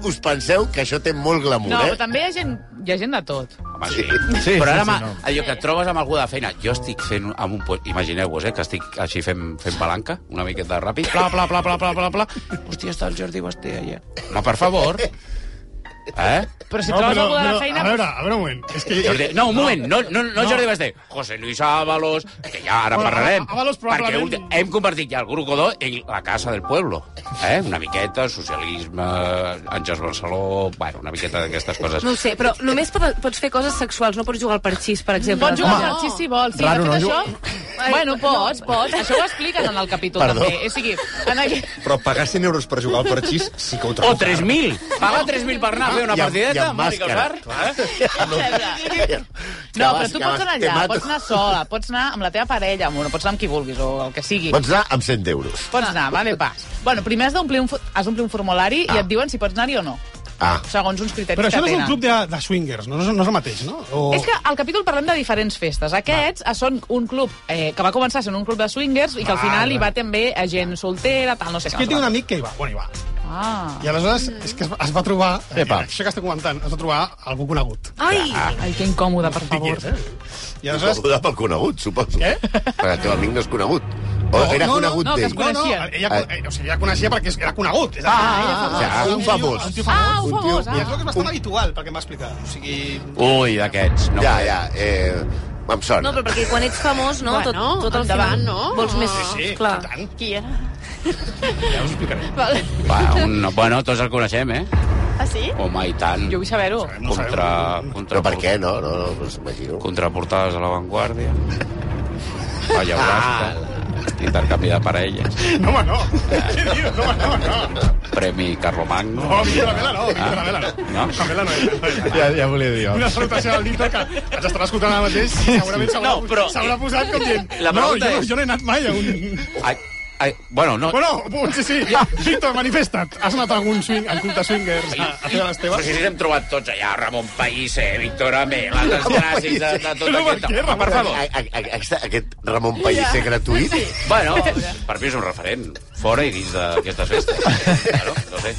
Speaker 3: us penseu que això té molt glamour,
Speaker 13: No,
Speaker 3: eh?
Speaker 13: però també hi ha gent, hi ha gent de tot.
Speaker 2: Home, sí.
Speaker 1: Sí,
Speaker 2: Però ara,
Speaker 1: sí, sí,
Speaker 2: sí,
Speaker 1: no.
Speaker 2: no. allò que et trobes amb algú de feina, jo estic fent amb un... po- Imagineu-vos, eh, que estic així fent, fent palanca, una miqueta ràpid, pla, pla, pla, pla, pla, pla, pla. Hòstia, està el Jordi Basté allà. Home, per favor. Eh?
Speaker 13: Però si trobes algú de la feina...
Speaker 12: A veure, a veure un moment. És que...
Speaker 2: Jordi, no, un moment, no, no, no,
Speaker 12: No.
Speaker 2: Jordi Basté. José Luis Ábalos, que ja ara
Speaker 12: Bueno,
Speaker 2: parlarem.
Speaker 12: Ábalos
Speaker 2: Perquè
Speaker 12: probablement-
Speaker 2: ulti- hem convertit ja el grup Godó en la casa del pueblo. Eh? Una miqueta, socialisme, Àngels Barceló... Bueno, una miqueta d'aquestes coses.
Speaker 6: No ho sé, però només pot, pots fer coses sexuals, no pots jugar al parxís, per exemple.
Speaker 13: Pots jugar al parxís si vols. Sí, Raro, de fet,
Speaker 6: no?
Speaker 13: no? això... Bueno, pots, pots. Això ho expliquen en el capítol,
Speaker 14: Perdó.
Speaker 13: també. O sigui, en aquest...
Speaker 14: Però pagar 100 euros per jugar al parxís sí que ho trobo.
Speaker 2: O 3.000. Pagar 3.000 per anar a fer una
Speaker 14: I amb- i
Speaker 2: partideta,
Speaker 14: amb
Speaker 2: Mònica
Speaker 14: màscara.
Speaker 3: Clar.
Speaker 13: No, però
Speaker 3: Cabàs,
Speaker 13: tu pots anar
Speaker 3: te
Speaker 13: allà,
Speaker 3: mato.
Speaker 13: pots anar sola, pots anar amb la teva parella, amb una, pots anar amb qui vulguis o el que sigui.
Speaker 3: Pots anar amb 100 euros.
Speaker 13: Pots anar, va, bé, pas. Bueno, primer has d'omplir un, fu- has d'omplir un formulari ah. i et diuen si pots anar-hi o no,
Speaker 3: Ah.
Speaker 13: segons uns criteris
Speaker 12: Però això no
Speaker 13: que
Speaker 12: és un
Speaker 13: tenen.
Speaker 12: club de, Oh. de swingers, no, no, és, no és el mateix, no? O...
Speaker 13: És que al capítol parlem de diferents festes. Aquests ah. són un club eh, que va començar sent un club de swingers i que al final
Speaker 12: Vale.
Speaker 13: hi va també eh, gent soltera, tal, no sé
Speaker 12: És
Speaker 13: què.
Speaker 12: que jo
Speaker 13: no
Speaker 12: tinc
Speaker 13: sé
Speaker 12: un amic que hi va, bueno, hi va.
Speaker 13: quantos. Ah.
Speaker 12: I aleshores és que es, es va trobar...
Speaker 13: Epa.
Speaker 12: Això que estic comentant, es va trobar algú conegut.
Speaker 6: Ai!
Speaker 5: Ah,
Speaker 13: Ai, que incòmode, per favor.
Speaker 12: eh? I
Speaker 3: I
Speaker 12: aleshores... eh?
Speaker 3: pel conegut, suposo. Què? Perquè el teu amic no és conegut. O era conegut
Speaker 12: no,
Speaker 3: d'ell.
Speaker 12: No, no, ella,
Speaker 3: Ah.
Speaker 12: eh, o sigui, ella coneixia perquè era conegut. És a dir,
Speaker 3: Ah,
Speaker 12: ella
Speaker 3: ah,
Speaker 12: famosa.
Speaker 3: ah, un
Speaker 12: tio-
Speaker 3: famós.
Speaker 12: Un tio
Speaker 13: Ah,
Speaker 12: famós.
Speaker 13: un famós,
Speaker 12: tio- I
Speaker 13: ah.
Speaker 12: és el que és bastant habitual, perquè m'ha explicat. O sigui...
Speaker 2: Ui, d'aquests. No.
Speaker 3: Ja, ja, eh, em
Speaker 6: No,
Speaker 3: sona.
Speaker 6: però perquè quan ets famós, no?
Speaker 5: Bueno,
Speaker 6: tot, tot al
Speaker 5: endavant,
Speaker 6: final
Speaker 5: no?
Speaker 6: Vols més...
Speaker 5: Sí, sí,
Speaker 6: clar.
Speaker 5: Qui era?
Speaker 12: Ja us explicaré.
Speaker 5: Vale.
Speaker 2: Va, un, bueno, tots el coneixem, eh?
Speaker 5: Ah, sí?
Speaker 2: Home, i tant.
Speaker 13: Jo vull saber-ho.
Speaker 2: Contra, contra,
Speaker 3: Però per què, no? No, no, pues, imagino.
Speaker 2: Contraportades a l'avantguàrdia. Vaya,
Speaker 3: Ah,
Speaker 2: ah, Intercanvi de parelles.
Speaker 4: No, home, no. Què dius? No, home, no, no.
Speaker 2: Premi Carlomagno.
Speaker 4: No, Villalavela no, Villalavela no.
Speaker 2: No?
Speaker 4: Villalavela no és.
Speaker 1: Ja, ja volia dir.
Speaker 4: Una salutació al Nito que ens estarà escoltant ara mateix i segurament s'haurà
Speaker 2: No, però-
Speaker 4: s'haurà posat com dient...
Speaker 2: La
Speaker 4: no,
Speaker 2: pregunta
Speaker 4: jo,
Speaker 2: és-
Speaker 4: jo no he anat mai a un...
Speaker 2: Ai, ai, bueno, no...
Speaker 4: Bueno, sí, sí. Víctor, manifesta't. Has anat a algun swing, al culte swingers a, a fer les
Speaker 2: Però
Speaker 4: teves?
Speaker 2: si ens hem trobat tots allà, Ramon País, eh, Víctor Amela, les clàssics de, de tot
Speaker 3: No, eh. per
Speaker 2: aquest...
Speaker 3: què,
Speaker 2: Home, per favor.
Speaker 3: A- a- a- Aquest, aquest Ramon Pellicer
Speaker 2: Ja.
Speaker 3: gratuït...
Speaker 2: Sí. Bueno, per mi és un referent. Fora i dins d'aquestes festes. Bueno, no sé.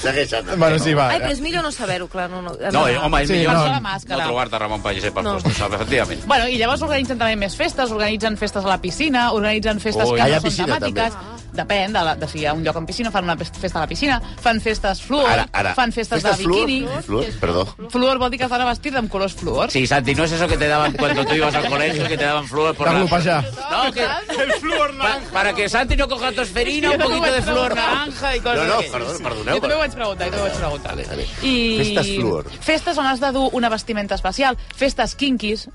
Speaker 3: Segueix, Anna.
Speaker 1: Bueno, sí, va.
Speaker 6: Ai, però és millor no saber-ho, clar. No, no,
Speaker 2: No, eh, home, és
Speaker 6: Sí,
Speaker 2: millor
Speaker 6: no.
Speaker 13: Posa la
Speaker 2: no,
Speaker 13: màscara.
Speaker 2: trobar-te Ramon Pellicer per
Speaker 13: No.
Speaker 2: no. tu, saps? Efectivament.
Speaker 13: Bueno, i llavors organitzen també més festes, organitzen festes a la piscina, organitzen festes
Speaker 2: Ui. Ah,
Speaker 13: que
Speaker 2: hi ha
Speaker 13: no són
Speaker 2: piscina,
Speaker 13: temàtiques. Depèn de, la, de si hi ha un lloc amb piscina, fan una pes- festa a la piscina, fan festes fluor,
Speaker 3: Ara, ara.
Speaker 13: fan festes,
Speaker 3: Festes
Speaker 13: de biquini...
Speaker 3: Fluor? Fluor, perdó.
Speaker 13: Fluor vol dir que estarà vestit amb colors fluor.
Speaker 2: Sí, Santi, no és eso que te daban cuando tú ibas al colegio, que te daban flúor por la... No, que...
Speaker 4: El fluor
Speaker 2: naranja. Para que Santi no coja tosferina,
Speaker 13: Sí,
Speaker 2: un
Speaker 13: jo
Speaker 2: poquito
Speaker 13: vaig
Speaker 2: de flúor
Speaker 13: preguntar.
Speaker 2: naranja y
Speaker 13: No,
Speaker 2: cosas
Speaker 13: no,
Speaker 2: d'aquestes.
Speaker 3: perdó,
Speaker 13: Jo també ho vaig preguntar, jo també ho vaig preguntar.
Speaker 3: Vale, vale.
Speaker 13: I...
Speaker 3: Festes Fluor.
Speaker 13: Festes on has de dur una vestimenta especial, festes kinquis,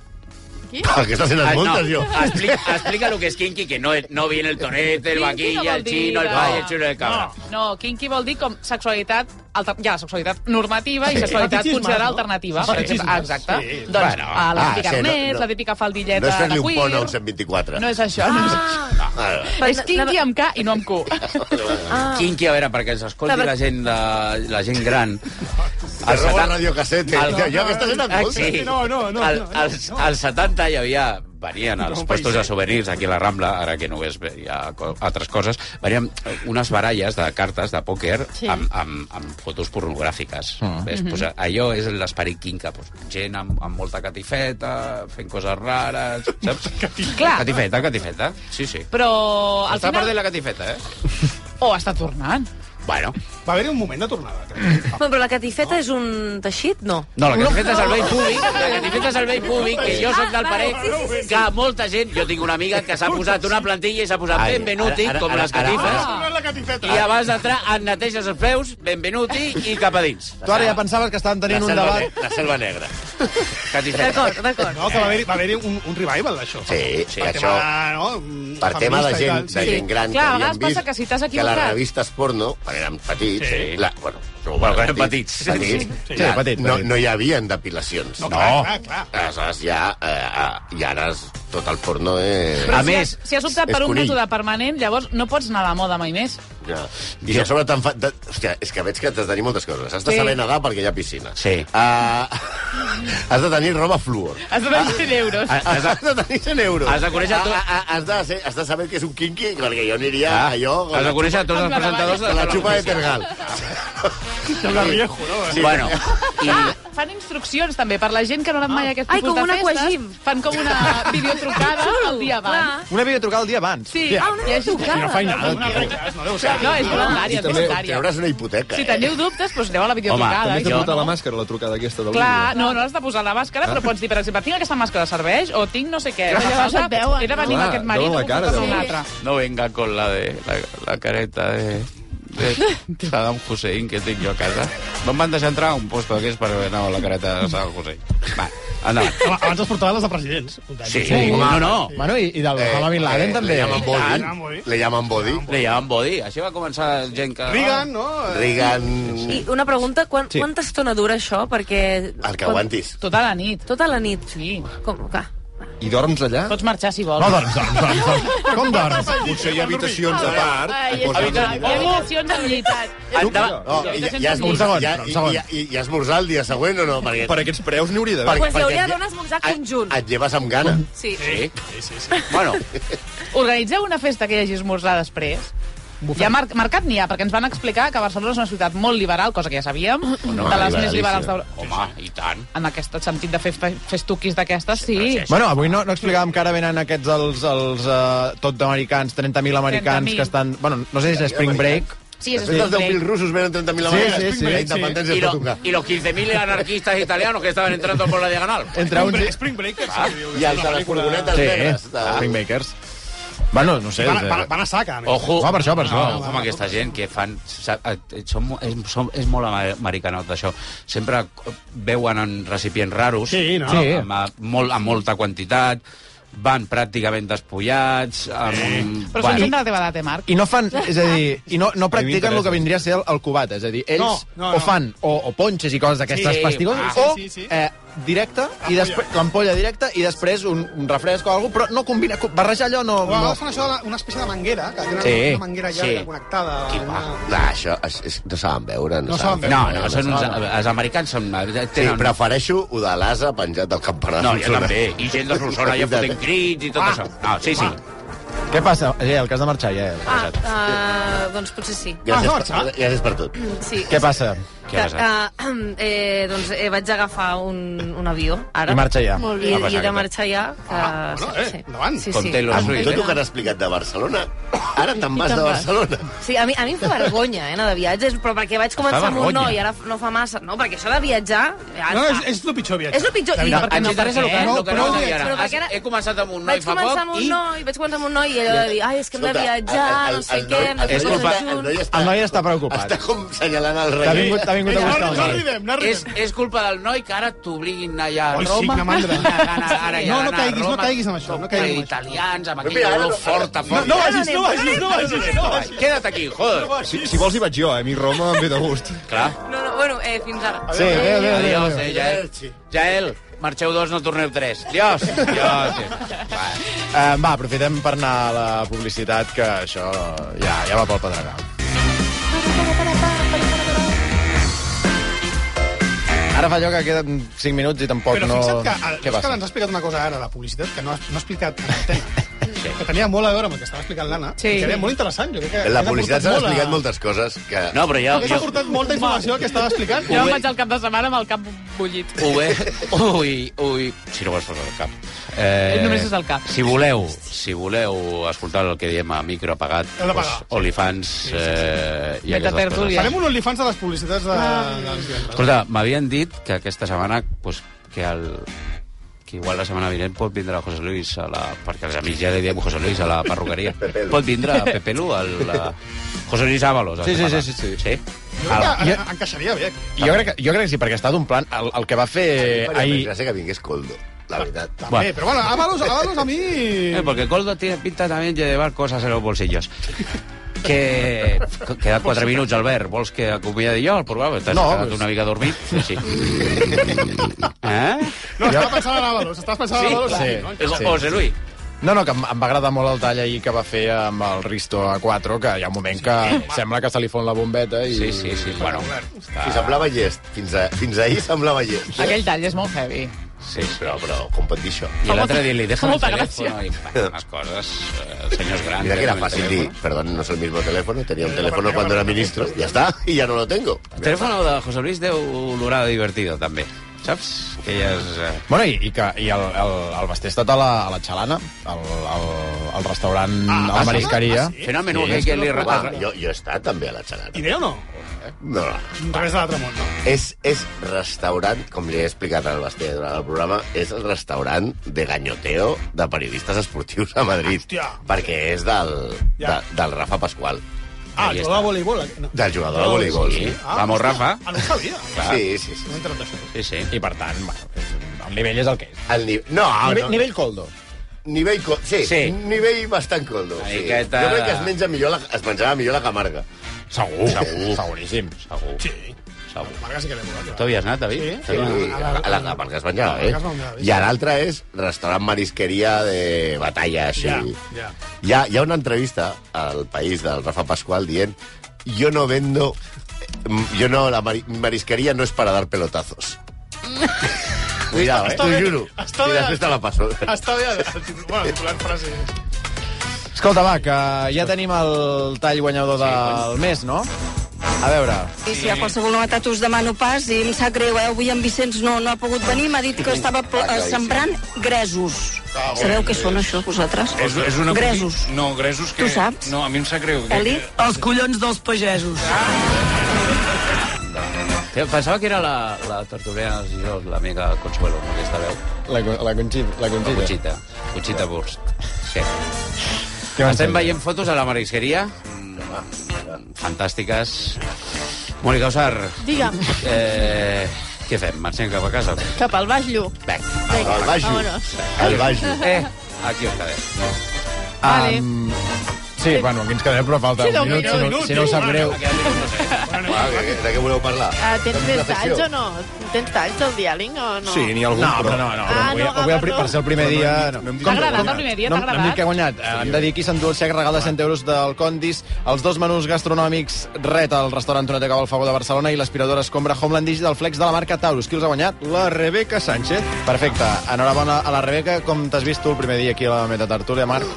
Speaker 3: Aquestes eren
Speaker 2: Ay, Ah, no,
Speaker 3: moltes, jo.
Speaker 2: Explica, explica lo que es kinky, que no, es- no viene el tonete, el
Speaker 13: Kinky no
Speaker 2: vaquilla,
Speaker 13: vol
Speaker 2: el
Speaker 13: dir
Speaker 2: chino, el
Speaker 13: de-
Speaker 2: pay, el chulo de cabra.
Speaker 13: No, kinky vol dir com sexualitat... Alter... Hi ha sexualitat normativa
Speaker 2: Sí.
Speaker 13: i sexualitat
Speaker 2: Fetichisme,
Speaker 13: considerada
Speaker 2: no?
Speaker 13: alternativa. Per
Speaker 2: Fetichisme.
Speaker 13: exemple, ah, exacte.
Speaker 2: Sí.
Speaker 13: Doncs
Speaker 2: Bueno.
Speaker 13: bueno, a la
Speaker 3: Ah,
Speaker 13: típica
Speaker 3: sí, no,
Speaker 13: arnés,
Speaker 3: no.
Speaker 13: la típica faldilleta
Speaker 3: No és fer-li
Speaker 13: de
Speaker 3: un pont al
Speaker 13: cuir...
Speaker 3: 124.
Speaker 13: No és això, no és això.
Speaker 3: Ah,
Speaker 13: És kinky amb K i no amb Q.
Speaker 2: Ah. Kinky, a veure, perquè ens escolti
Speaker 13: La
Speaker 2: la,
Speaker 13: ver-
Speaker 2: gent, de, la gent gran.
Speaker 3: Que roba radiocassete. Tio, jo aquestes eren
Speaker 2: Ah,
Speaker 3: moltes.
Speaker 2: sí.
Speaker 3: No, no, no,
Speaker 2: Al,
Speaker 3: no, no.
Speaker 2: als, als 70 hi havia venien als
Speaker 3: No,
Speaker 2: puestos
Speaker 3: país,
Speaker 2: de
Speaker 3: sí.
Speaker 2: souvenirs aquí a la Rambla, ara que només ve- hi ha co- altres coses, venien unes baralles de cartes de pòquer
Speaker 13: Sí.
Speaker 2: amb, amb, amb fotos pornogràfiques.
Speaker 13: Ah.
Speaker 2: Ves,
Speaker 13: Mhm.
Speaker 2: pues, eh, allò és l'esperit quinca, pues, gent amb, amb molta catifeta, fent coses rares, saps?
Speaker 13: Clar.
Speaker 2: Catifeta, catifeta, sí, sí.
Speaker 13: Però al
Speaker 2: Està perdent
Speaker 13: final...
Speaker 2: la catifeta, eh?
Speaker 13: O està tornant.
Speaker 2: Bueno.
Speaker 4: Va haver-hi un moment de tornada.
Speaker 6: Bueno, però la catifeta és un teixit? No.
Speaker 2: No, la catifeta és el vell públic, la catifeta és el vell públic, que jo soc del
Speaker 6: Ah, vale,
Speaker 2: parer que molta gent, jo tinc una amiga que s'ha posat una plantilla i s'ha posat
Speaker 3: Ai,
Speaker 2: Benvenuti,
Speaker 3: ara, ara,
Speaker 2: com
Speaker 3: ara,
Speaker 2: les
Speaker 1: Ah.
Speaker 3: ara.
Speaker 2: catifes,
Speaker 4: No és la
Speaker 6: Ah.
Speaker 4: catifeta.
Speaker 2: i abans d'entrar et neteges els peus, Benvenuti, i cap a dins.
Speaker 1: Tu ara ja pensaves que estàvem tenint
Speaker 2: La
Speaker 1: un
Speaker 2: selva
Speaker 1: debat...
Speaker 2: ne- La selva negra. Catifeta.
Speaker 6: D'acord, d'acord.
Speaker 4: No, que va haver-hi va haver un, un revival d'això.
Speaker 3: Sí, sí,
Speaker 4: per
Speaker 3: això-
Speaker 4: Tema, no?
Speaker 3: Per tema de
Speaker 4: feminista i
Speaker 3: gent,
Speaker 4: tal,
Speaker 3: de
Speaker 4: sí.
Speaker 3: gent gran
Speaker 13: Clar, a
Speaker 3: que havien
Speaker 13: vegades passa
Speaker 3: vist
Speaker 13: que si t'has
Speaker 3: que les
Speaker 13: equivocat.
Speaker 3: revistes porno, quan érem petits,
Speaker 2: Sí.
Speaker 3: la, bueno,
Speaker 2: Bueno, quan érem petits.
Speaker 3: petits,
Speaker 2: Sí,
Speaker 3: clar,
Speaker 2: sí, petit,
Speaker 3: no,
Speaker 2: petit.
Speaker 3: no hi havia depilacions.
Speaker 2: No, clar, clar,
Speaker 3: Aleshores, ja, eh, eh, i ara és- tot el porno és...
Speaker 13: Però si has, si has optat
Speaker 3: és
Speaker 13: per un
Speaker 3: conill.
Speaker 13: mètode permanent, llavors no pots anar a la moda mai més.
Speaker 3: Ja. I jo, sobre tant fa... De... Hòstia, és que veig que t'has de tenir moltes coses. Has de
Speaker 13: Sí.
Speaker 3: saber nedar perquè hi ha piscina.
Speaker 2: Sí.
Speaker 3: Uh, has de tenir roba fluor.
Speaker 13: Has
Speaker 2: Ah.
Speaker 13: de tenir 100 euros.
Speaker 3: Has de, has de tenir 100 euros.
Speaker 2: Has de conèixer tu-
Speaker 3: Ah, ah, ah, Has de, ser, has de saber que és un kinky, perquè jo aniria
Speaker 2: Ah,
Speaker 3: ah, allò...
Speaker 2: has de conèixer tots
Speaker 6: Doncs
Speaker 2: els presentadors de
Speaker 3: de la
Speaker 2: la
Speaker 3: xupa de
Speaker 2: televisió.
Speaker 3: Tergal.
Speaker 4: Sembla viejo, no?
Speaker 3: Sí.
Speaker 2: Bueno, i...
Speaker 13: Fan instruccions, també, per la gent que no ha anat mai a aquest
Speaker 6: Ai,
Speaker 13: tipus
Speaker 6: com un
Speaker 13: de festes.
Speaker 6: aquagym.
Speaker 13: Fan com una videotrucada el dia abans.
Speaker 1: Una videotrucada el dia abans.
Speaker 13: Sí,
Speaker 1: Hòstia.
Speaker 13: ah, una videotrucada.
Speaker 1: No fa nada, tio.
Speaker 13: No, és voluntària, és voluntària.
Speaker 3: Treuràs una hipoteca, ¿eh?
Speaker 13: Si teniu dubtes, doncs aneu a la videotrucada.
Speaker 14: també
Speaker 13: i
Speaker 14: has de
Speaker 13: si no,
Speaker 14: portar
Speaker 13: no.
Speaker 14: la màscara, la trucada aquesta del
Speaker 13: Clar, no, no has de posar la màscara, però pots dir, per exemple, tinc aquesta màscara, serveix? O tinc no sé què.
Speaker 5: Clar,
Speaker 13: Llavors,
Speaker 5: et veuen,
Speaker 13: He de venir amb
Speaker 2: Clar,
Speaker 13: aquest marit
Speaker 2: veuen
Speaker 13: o
Speaker 2: la
Speaker 13: puc
Speaker 2: cara,
Speaker 13: portar
Speaker 2: veuen.
Speaker 13: un altre.
Speaker 2: No venga con la de la, la careta de, de Saddam Hussein que tinc jo a casa. No em van deixar entrar a un puesto d'aquests per anar amb la careta de Saddam Hussein. Va, endavant.
Speaker 12: Aba- Abans es portaven les de presidents.
Speaker 2: Sí, no, no.
Speaker 1: Bueno, i, i del Osama Bin Laden, també.
Speaker 3: Le llaman
Speaker 2: Ah,
Speaker 3: body. Le llaman body.
Speaker 2: Le llaman body. Així va començar gent que...
Speaker 4: Reagan, no?
Speaker 3: Reagan...
Speaker 6: I una pregunta, quan,
Speaker 3: Sí.
Speaker 6: sí. quanta estona dura això? Perquè...
Speaker 3: El que aguantis.
Speaker 13: Tota la nit.
Speaker 6: Tota la nit?
Speaker 13: Sí.
Speaker 6: Com, clar.
Speaker 14: I dorms allà?
Speaker 13: Pots marxar si vols.
Speaker 14: No, doncs, doncs, doncs.
Speaker 1: Com dorms?
Speaker 14: Potser hi ha habitacions a part.
Speaker 13: Ai,
Speaker 14: i
Speaker 13: és
Speaker 14: poses-
Speaker 13: veritat. Hi ha habitacions amb llit.
Speaker 2: Ah,
Speaker 3: No, i, ja, ja,
Speaker 13: Un
Speaker 3: esmorzar,
Speaker 13: segon,
Speaker 3: ja,
Speaker 13: un
Speaker 3: i,
Speaker 13: segon.
Speaker 3: ja, i, i esmorzar el dia següent o no? Perquè,
Speaker 14: Per aquests preus n'hi hauria d'haver.
Speaker 3: Perquè-
Speaker 6: Pues hauria
Speaker 3: perquè
Speaker 6: d'anar a esmorzar
Speaker 3: et- Ah,
Speaker 6: conjunt.
Speaker 3: Et lleves amb gana.
Speaker 6: Sí.
Speaker 2: Sí.
Speaker 4: Sí, sí, sí.
Speaker 2: Bueno,
Speaker 13: Organitzeu una festa que hi hagi esmorzar després. Ja mar marcat n'hi ha, perquè ens van explicar que Barcelona és una ciutat molt liberal, cosa que ja sabíem,
Speaker 2: no,
Speaker 13: de les més liberals
Speaker 2: liberalíssima.
Speaker 13: d'Europa.
Speaker 2: Home, i tant.
Speaker 13: En aquest sentit de fer fe- festuquis d'aquestes, sí.
Speaker 1: Bueno, avui no, no explicàvem que ara venen aquests els, els uh, tot d'americans, 30.000 americans
Speaker 13: 30.000.
Speaker 1: que estan... Bueno, no sé si és Spring Break.
Speaker 13: Sí,
Speaker 3: Després dels 10.000 russos venen 30.000
Speaker 1: Sí,
Speaker 3: americans.
Speaker 1: sí, sí.
Speaker 3: La independència
Speaker 2: Y,
Speaker 3: és
Speaker 2: lo-
Speaker 3: tot un gas.
Speaker 2: y los 15.000 anarquistas italianos que estaban entrando por la diagonal.
Speaker 1: Entre uns...
Speaker 4: Spring Breakers.
Speaker 1: Ah,
Speaker 3: I els de les furgonetes
Speaker 1: Sí,
Speaker 3: negres.
Speaker 14: Ah.
Speaker 1: Spring Breakers. Bueno, no sé...
Speaker 4: Van,
Speaker 1: eh,
Speaker 4: van, van a saca, a més.
Speaker 2: Ojo.
Speaker 1: Va, per això, per això.
Speaker 2: No, ojo amb aquesta gent que fan... sa- eh, Són, mo- és, són, és molt ama- americanot, això. Sempre veuen en recipients raros,
Speaker 4: Sí, no?
Speaker 2: amb, amb, molt, amb molta quantitat, van pràcticament despullats... Amb...
Speaker 13: Però són gent de la teva edat, eh, Marc?
Speaker 4: I no fan, és a dir, i no, no practiquen el que
Speaker 13: m'interessa.
Speaker 4: vindria a ser el, el cubat, és a dir, ells
Speaker 13: No,
Speaker 4: no,
Speaker 13: no,
Speaker 4: no. o
Speaker 13: no.
Speaker 4: fan o, o ponxes i coses d'aquestes
Speaker 13: Sí,
Speaker 4: sí, pastigoses,
Speaker 13: va.
Speaker 4: o
Speaker 13: Sí, sí, sí.
Speaker 4: Eh, directe, i després l'ampolla directa, i després un, un refresc o alguna però no combina, co- barrejar allò no...
Speaker 1: O
Speaker 4: no.
Speaker 1: agafen això, de la- una espècie de manguera, que tenen
Speaker 4: Sí,
Speaker 1: una manguera llarga
Speaker 4: sí.
Speaker 1: connectada. Una...
Speaker 3: No, això és, és, no saben veure. No,
Speaker 1: No saben veure.
Speaker 2: No, no, són uns, els americans són... eh, Tenen...
Speaker 3: Sí, prefereixo ho de l'asa penjat del campanar.
Speaker 2: No, jo també. I gent de Solsona ja fotent crits i
Speaker 1: Ah.
Speaker 2: tot això. No, sí, sí.
Speaker 4: Què passa? Jael, que has de marxar, Jael.
Speaker 6: Ah, uh, doncs potser sí.
Speaker 4: Gràcies
Speaker 3: per- gràcies per tot.
Speaker 6: Sí.
Speaker 4: Què passa?
Speaker 6: Que, que, eh, doncs eh, vaig agafar un, un avió, ara.
Speaker 4: I marxa ja. Molt bé. Ah,
Speaker 6: I, i
Speaker 4: passa
Speaker 6: de
Speaker 4: que-
Speaker 6: marxar ja. Que, ah, bueno, eh, sí. endavant. Sí, sí.
Speaker 2: Ah,
Speaker 1: Ah,
Speaker 3: Amb tot el que han explicat de Barcelona, ara te'n vas
Speaker 6: te'n
Speaker 3: de
Speaker 6: vas.
Speaker 3: Barcelona.
Speaker 6: Sí, a mi, a mi em fa vergonya, eh, anar de viatges, però perquè vaig començar amb un
Speaker 3: vergonya.
Speaker 6: noi, ara no fa massa. No, perquè això de viatjar... Ja,
Speaker 1: No, és, és el pitjor viatge.
Speaker 6: És el pitjor. I-
Speaker 1: veritat.
Speaker 6: Ens interessa el que- el que no
Speaker 1: prou
Speaker 6: vas a
Speaker 1: viatge.
Speaker 6: viatjar. Però perquè ara-
Speaker 2: He començat amb un noi
Speaker 6: Vaig
Speaker 2: fa
Speaker 6: començar
Speaker 2: poc
Speaker 6: amb un
Speaker 2: i...
Speaker 6: noi, vaig començar amb un noi i allò de dir, ai, és que hem de
Speaker 3: Escolta,
Speaker 6: viatjar,
Speaker 3: el- el-
Speaker 6: no sé
Speaker 3: el
Speaker 6: què,
Speaker 3: noi-
Speaker 6: hem de fer
Speaker 3: el noi
Speaker 6: coses
Speaker 3: està- el noi
Speaker 6: junts.
Speaker 4: El noi està preocupat.
Speaker 3: Està com senyalant el rei.
Speaker 4: T'ha vingut, t'ha vingut a buscar
Speaker 6: eh,
Speaker 4: el noi.
Speaker 2: És, és culpa del noi que ara t'obliguin allà a
Speaker 4: Oi, sí,
Speaker 2: Roma.
Speaker 4: quina mandra.
Speaker 2: Ara, ara,
Speaker 1: No, no
Speaker 2: anar a
Speaker 1: caiguis, no
Speaker 2: Roma,
Speaker 1: caiguis en això, no
Speaker 2: tot
Speaker 1: caiguis en
Speaker 2: de
Speaker 1: això.
Speaker 2: Italians, amb
Speaker 1: Mira,
Speaker 2: aquella
Speaker 1: ara
Speaker 2: olor
Speaker 1: no-
Speaker 2: forta, forta.
Speaker 1: no vagis, no vagis, no vagis, no vagis.
Speaker 2: Queda't aquí, joder.
Speaker 17: Si, si vols hi vaig jo, eh? A mi Roma em ve de gust.
Speaker 2: Clar.
Speaker 6: No, no, bueno, eh, fins ara.
Speaker 2: Adiós, eh, Jael. Jael, marxeu dos, no torneu tres. Adiós. Adiós.
Speaker 4: Eh, va, aprofitem per anar a la publicitat, que això ja, ja va pel pedregal. Ara fa allò que queden 5 minuts i tampoc
Speaker 1: Però
Speaker 4: Pues no...
Speaker 1: fixa't que el
Speaker 4: Què
Speaker 1: Òscar
Speaker 4: passa?
Speaker 1: ens ha explicat una cosa ara, la publicitat, que no ha, no ha explicat en antena. Sí. Que tenia molt a veure amb el que estava explicant l'Anna.
Speaker 3: Sí.
Speaker 1: Que era molt interessant. Jo crec que
Speaker 3: La
Speaker 1: hagués aportat
Speaker 3: publicitat s'ha
Speaker 1: molt a-
Speaker 3: explicat moltes coses que...
Speaker 2: No, però
Speaker 1: Hagués aportat molta informació al que estava explicant.
Speaker 13: Jo em vaig al cap de setmana amb el cap bullit.
Speaker 2: Ho ve... Ui, ui... Si no vols posar el cap. Eh,
Speaker 13: Només és el cap.
Speaker 2: Si voleu, si voleu escoltar el que diem a micro apagat,
Speaker 1: Heu de pagar.
Speaker 2: Olifants eh, i aquestes coses.
Speaker 1: Farem un OnlyFans de les publicitats de... de...
Speaker 2: Escolta, m'havien dit que aquesta setmana, pues, que el que igual la setmana vinent pot vindre José Luis a la... perquè els amics ja li diem José Luis a la perruqueria. pot vindre Pepe Lu, el... eh, José Luis Ábalos. el
Speaker 4: Sí,
Speaker 2: que
Speaker 4: sí,
Speaker 2: parla.
Speaker 4: sí, sí,
Speaker 2: sí.
Speaker 1: Jo
Speaker 2: Ala.
Speaker 1: crec que en- encaixaria bé. eh.
Speaker 4: Jo crec, que, jo crec que sí, perquè està d'un plan... El, el que va fer
Speaker 3: faria
Speaker 4: ahir...
Speaker 3: més gràcia que vingués Coldo,
Speaker 2: Ah.
Speaker 3: la veritat.
Speaker 1: Eh, però bueno, Avalos, Avalos a mi...
Speaker 2: Eh, porque Coldo tiene pinta también de llevar cosas en los bolsillos. Que... que- Queda 4 minuts, Albert. Vols que acomiadi jo el programa? T'has
Speaker 1: No,
Speaker 2: no, quedat
Speaker 1: pues-
Speaker 2: una mica dormit? Sí. eh?
Speaker 1: No, estava pensant en Avalos, estàs pensant en Avalos.
Speaker 4: Sí,
Speaker 1: no?
Speaker 4: sí.
Speaker 2: José Luis.
Speaker 4: No, no, que em, em va agradar molt el tall ahir que va fer amb el Risto A4, que hi ha un moment que sembla que se li fon la bombeta i...
Speaker 2: Sí, sí, sí. Bueno,
Speaker 3: Si semblava llest. Fins, a, fins ahir semblava llest.
Speaker 13: Aquell tall és molt heavy.
Speaker 2: Sí,
Speaker 3: però, però com pot dir això?
Speaker 2: I l'altre dia li dejo el
Speaker 13: molta
Speaker 2: telèfon i fa unes coses, eh, senyors grans.
Speaker 3: Mira que era
Speaker 2: déjame el
Speaker 3: fácil
Speaker 2: teléfono.
Speaker 3: dir, perdón, no es el mismo teléfono, tenía un teléfono cuando era ministro, ya está, y ya no lo tengo.
Speaker 2: El telèfon de José Luis deu olorar de divertido, també. Saps? Que ja és... eh,
Speaker 4: Bueno, i, i, que, i el, el, el Basté ha estat a la, a la Xalana, al, al, al restaurant, ah, a la marisqueria.
Speaker 2: Fenomen,
Speaker 4: Sí.
Speaker 2: que, que li...
Speaker 3: Va, jo, jo he estat també a la xalana.
Speaker 1: I bé o no?
Speaker 3: No, no.
Speaker 1: Res de l'altre món, no?
Speaker 3: És, és restaurant, com li he explicat al Basté durant el programa, és el restaurant de ganyoteo de periodistes esportius a Madrid. Hòstia. Perquè és del, de,
Speaker 1: Ja.
Speaker 3: del Rafa Pasqual.
Speaker 1: Ah,
Speaker 3: Ahí
Speaker 1: el jugador de voleibol. eh? No.
Speaker 3: Del jugador de voleibol.
Speaker 2: Sí.
Speaker 1: Ah,
Speaker 2: Vamos,
Speaker 1: hòstia.
Speaker 2: Rafa.
Speaker 1: Ah, no ho sabia.
Speaker 2: Clar.
Speaker 3: Sí, sí, sí.
Speaker 1: No he entrat això.
Speaker 2: Sí, sí.
Speaker 4: I per tant, bueno, és- el nivell és el que és.
Speaker 3: El ni... No,
Speaker 4: nivell,
Speaker 3: no.
Speaker 4: nivell Coldo.
Speaker 3: Nivell, co... sí,
Speaker 2: Sí.
Speaker 3: sí, nivell bastant coldo. Sí.
Speaker 2: miqueta-
Speaker 3: Jo crec que es, menja millor la... es menjava millor la Camarga.
Speaker 2: Segur. Segur.
Speaker 4: Seguríssim.
Speaker 2: Segur.
Speaker 1: Sí.
Speaker 2: Segur.
Speaker 1: Marga sí que l'he volat.
Speaker 2: Tu havies anat, David?
Speaker 3: Sí, a la Camarga es menjava,
Speaker 1: A la Camarga es
Speaker 3: eh?
Speaker 1: menjava,
Speaker 3: I a l'altra és restaurant marisqueria de batalla, així.
Speaker 1: Ja, ja.
Speaker 3: Hi ha, hi ha una entrevista al País del Rafa Pascual dient yo no vendo... mm, Yo no, la mari- marisquería no es para dar pelotazos. Cuidado, eh?
Speaker 1: Està
Speaker 3: T'ho
Speaker 1: bé,
Speaker 3: juro.
Speaker 1: està
Speaker 3: I
Speaker 1: bé.
Speaker 3: després te la passo.
Speaker 1: Està bé, el titular, bueno, el titular frase.
Speaker 4: Escolta, va, que ja tenim el tall guanyador del mes, no? A veure...
Speaker 18: I si hi ha qualsevol novetat us demano pas i em sap greu, eh? Avui en Vicenç no, no ha pogut venir, m'ha dit que
Speaker 3: Ah,
Speaker 18: estava pl- eh, sembrant gresos. Sabeu què són això, vosaltres?
Speaker 19: És, és una...
Speaker 18: Gresos.
Speaker 19: No, gresos que...
Speaker 18: Tu saps?
Speaker 19: No, a mi em sap greu.
Speaker 18: Eli? Els collons dels pagesos.
Speaker 2: Pensava que era la, la tortolera dels dijous, l'amiga Consuelo, amb aquesta veu.
Speaker 4: La, la, Conchita, la Conchita.
Speaker 2: La Conchita. Conchita Burst. Sí.
Speaker 4: m'ensenyes?
Speaker 2: Estem veient fotos a la marisqueria. Mm, Fantàstiques. Mònica Usar,
Speaker 5: Digue'm,
Speaker 2: eh, què fem? Marxem cap a casa?
Speaker 5: cap al Baix Ah, Lluc.
Speaker 2: Vinga.
Speaker 5: Vinga,
Speaker 2: Al Bajo.
Speaker 5: Vámonos.
Speaker 3: Al Bajo.
Speaker 2: Eh,
Speaker 20: Aquí us quedem.
Speaker 2: Vale. Um, sí, bueno, aquí ens quedem, però falta
Speaker 5: Sí,
Speaker 2: un
Speaker 5: deu
Speaker 2: minut, si no,
Speaker 5: minuts,
Speaker 2: si no us sap
Speaker 5: sí.
Speaker 2: greu.
Speaker 3: Va, de, de què voleu parlar?
Speaker 5: Ah, tens
Speaker 3: Tenim
Speaker 5: més
Speaker 3: una secció?
Speaker 5: talls o no? Tens talls del diàling o no?
Speaker 3: Sí, n'hi ha algun,
Speaker 2: no,
Speaker 3: però-
Speaker 2: però no, no.
Speaker 5: Ah,
Speaker 2: Però
Speaker 5: no,
Speaker 2: avui,
Speaker 5: ah,
Speaker 2: avui el, pri- per ser el primer
Speaker 5: perdó.
Speaker 2: dia...
Speaker 5: No, no hem dit-
Speaker 2: Com-
Speaker 5: T'ha agradat el primer dia?
Speaker 2: No,
Speaker 5: T'ha
Speaker 2: no hem dit
Speaker 5: agradat?
Speaker 2: que ha guanyat. Eh, Hem de dir qui s'endú el xec regal de 100 euros del Condis, els dos menús gastronòmics Ret al restaurant Toneta Cabalfago de Barcelona i l'aspiradora escombra Homeland Digital Flex de la marca Taurus. Qui els ha guanyat? La Rebeca Sánchez. Perfecte. Enhorabona a la Rebeca. Com t'has vist tu el primer dia aquí a la Metatartúlia, Marc?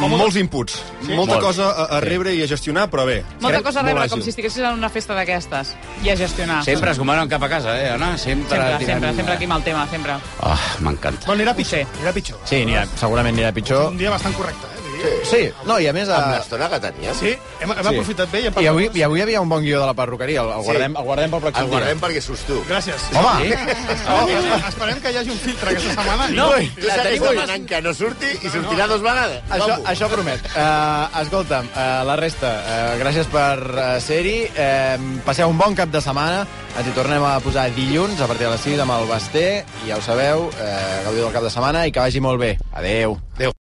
Speaker 4: Molts inputs.
Speaker 2: Sí?
Speaker 4: Molta
Speaker 2: Molt.
Speaker 4: cosa a, a rebre i a gestionar, però bé.
Speaker 13: Molta cosa a rebre,
Speaker 4: Molt
Speaker 13: com
Speaker 4: àgil.
Speaker 13: si estiguessis en una festa d'aquestes. I a gestionar.
Speaker 20: Sempre es comanen cap a casa, eh, Anna? Sempre,
Speaker 13: Sempre,
Speaker 20: tirant-
Speaker 13: sempre, sempre aquí amb el tema, sempre.
Speaker 20: Oh, m'encanta.
Speaker 1: Bueno, anirà pitjor. Anirà pitjor.
Speaker 2: Sí, anirà, segurament anirà pitjor.
Speaker 1: Un dia bastant correcte, eh?
Speaker 2: Sí, no, i a més...
Speaker 3: Amb l'estona que teníem.
Speaker 1: Sí, hem, hem aprofitat bé i hem
Speaker 2: I avui,
Speaker 1: parlat.
Speaker 2: I avui hi havia un bon guió de la perruqueria. El, el,
Speaker 3: Sí.
Speaker 2: guardem, el guardem pel pròxim
Speaker 3: El
Speaker 2: dia.
Speaker 3: guardem perquè surts tu.
Speaker 1: Gràcies.
Speaker 2: Home!
Speaker 1: Esperem, esperem que hi hagi un filtre aquesta setmana.
Speaker 3: No,
Speaker 1: Ui,
Speaker 3: tu segueix
Speaker 1: ui.
Speaker 3: demanant que no surti i sortirà dos vegades.
Speaker 2: Això,
Speaker 3: Guapo.
Speaker 2: això promet. Uh, escolta'm, uh, la resta, uh, gràcies per uh, ser-hi. Uh, passeu un bon cap de setmana. Ens hi tornem a posar dilluns a partir de eh, les 6 amb el Basté. I ja ho sabeu, uh, gaudiu del cap de setmana i que vagi molt bé. Adeu. Adeu.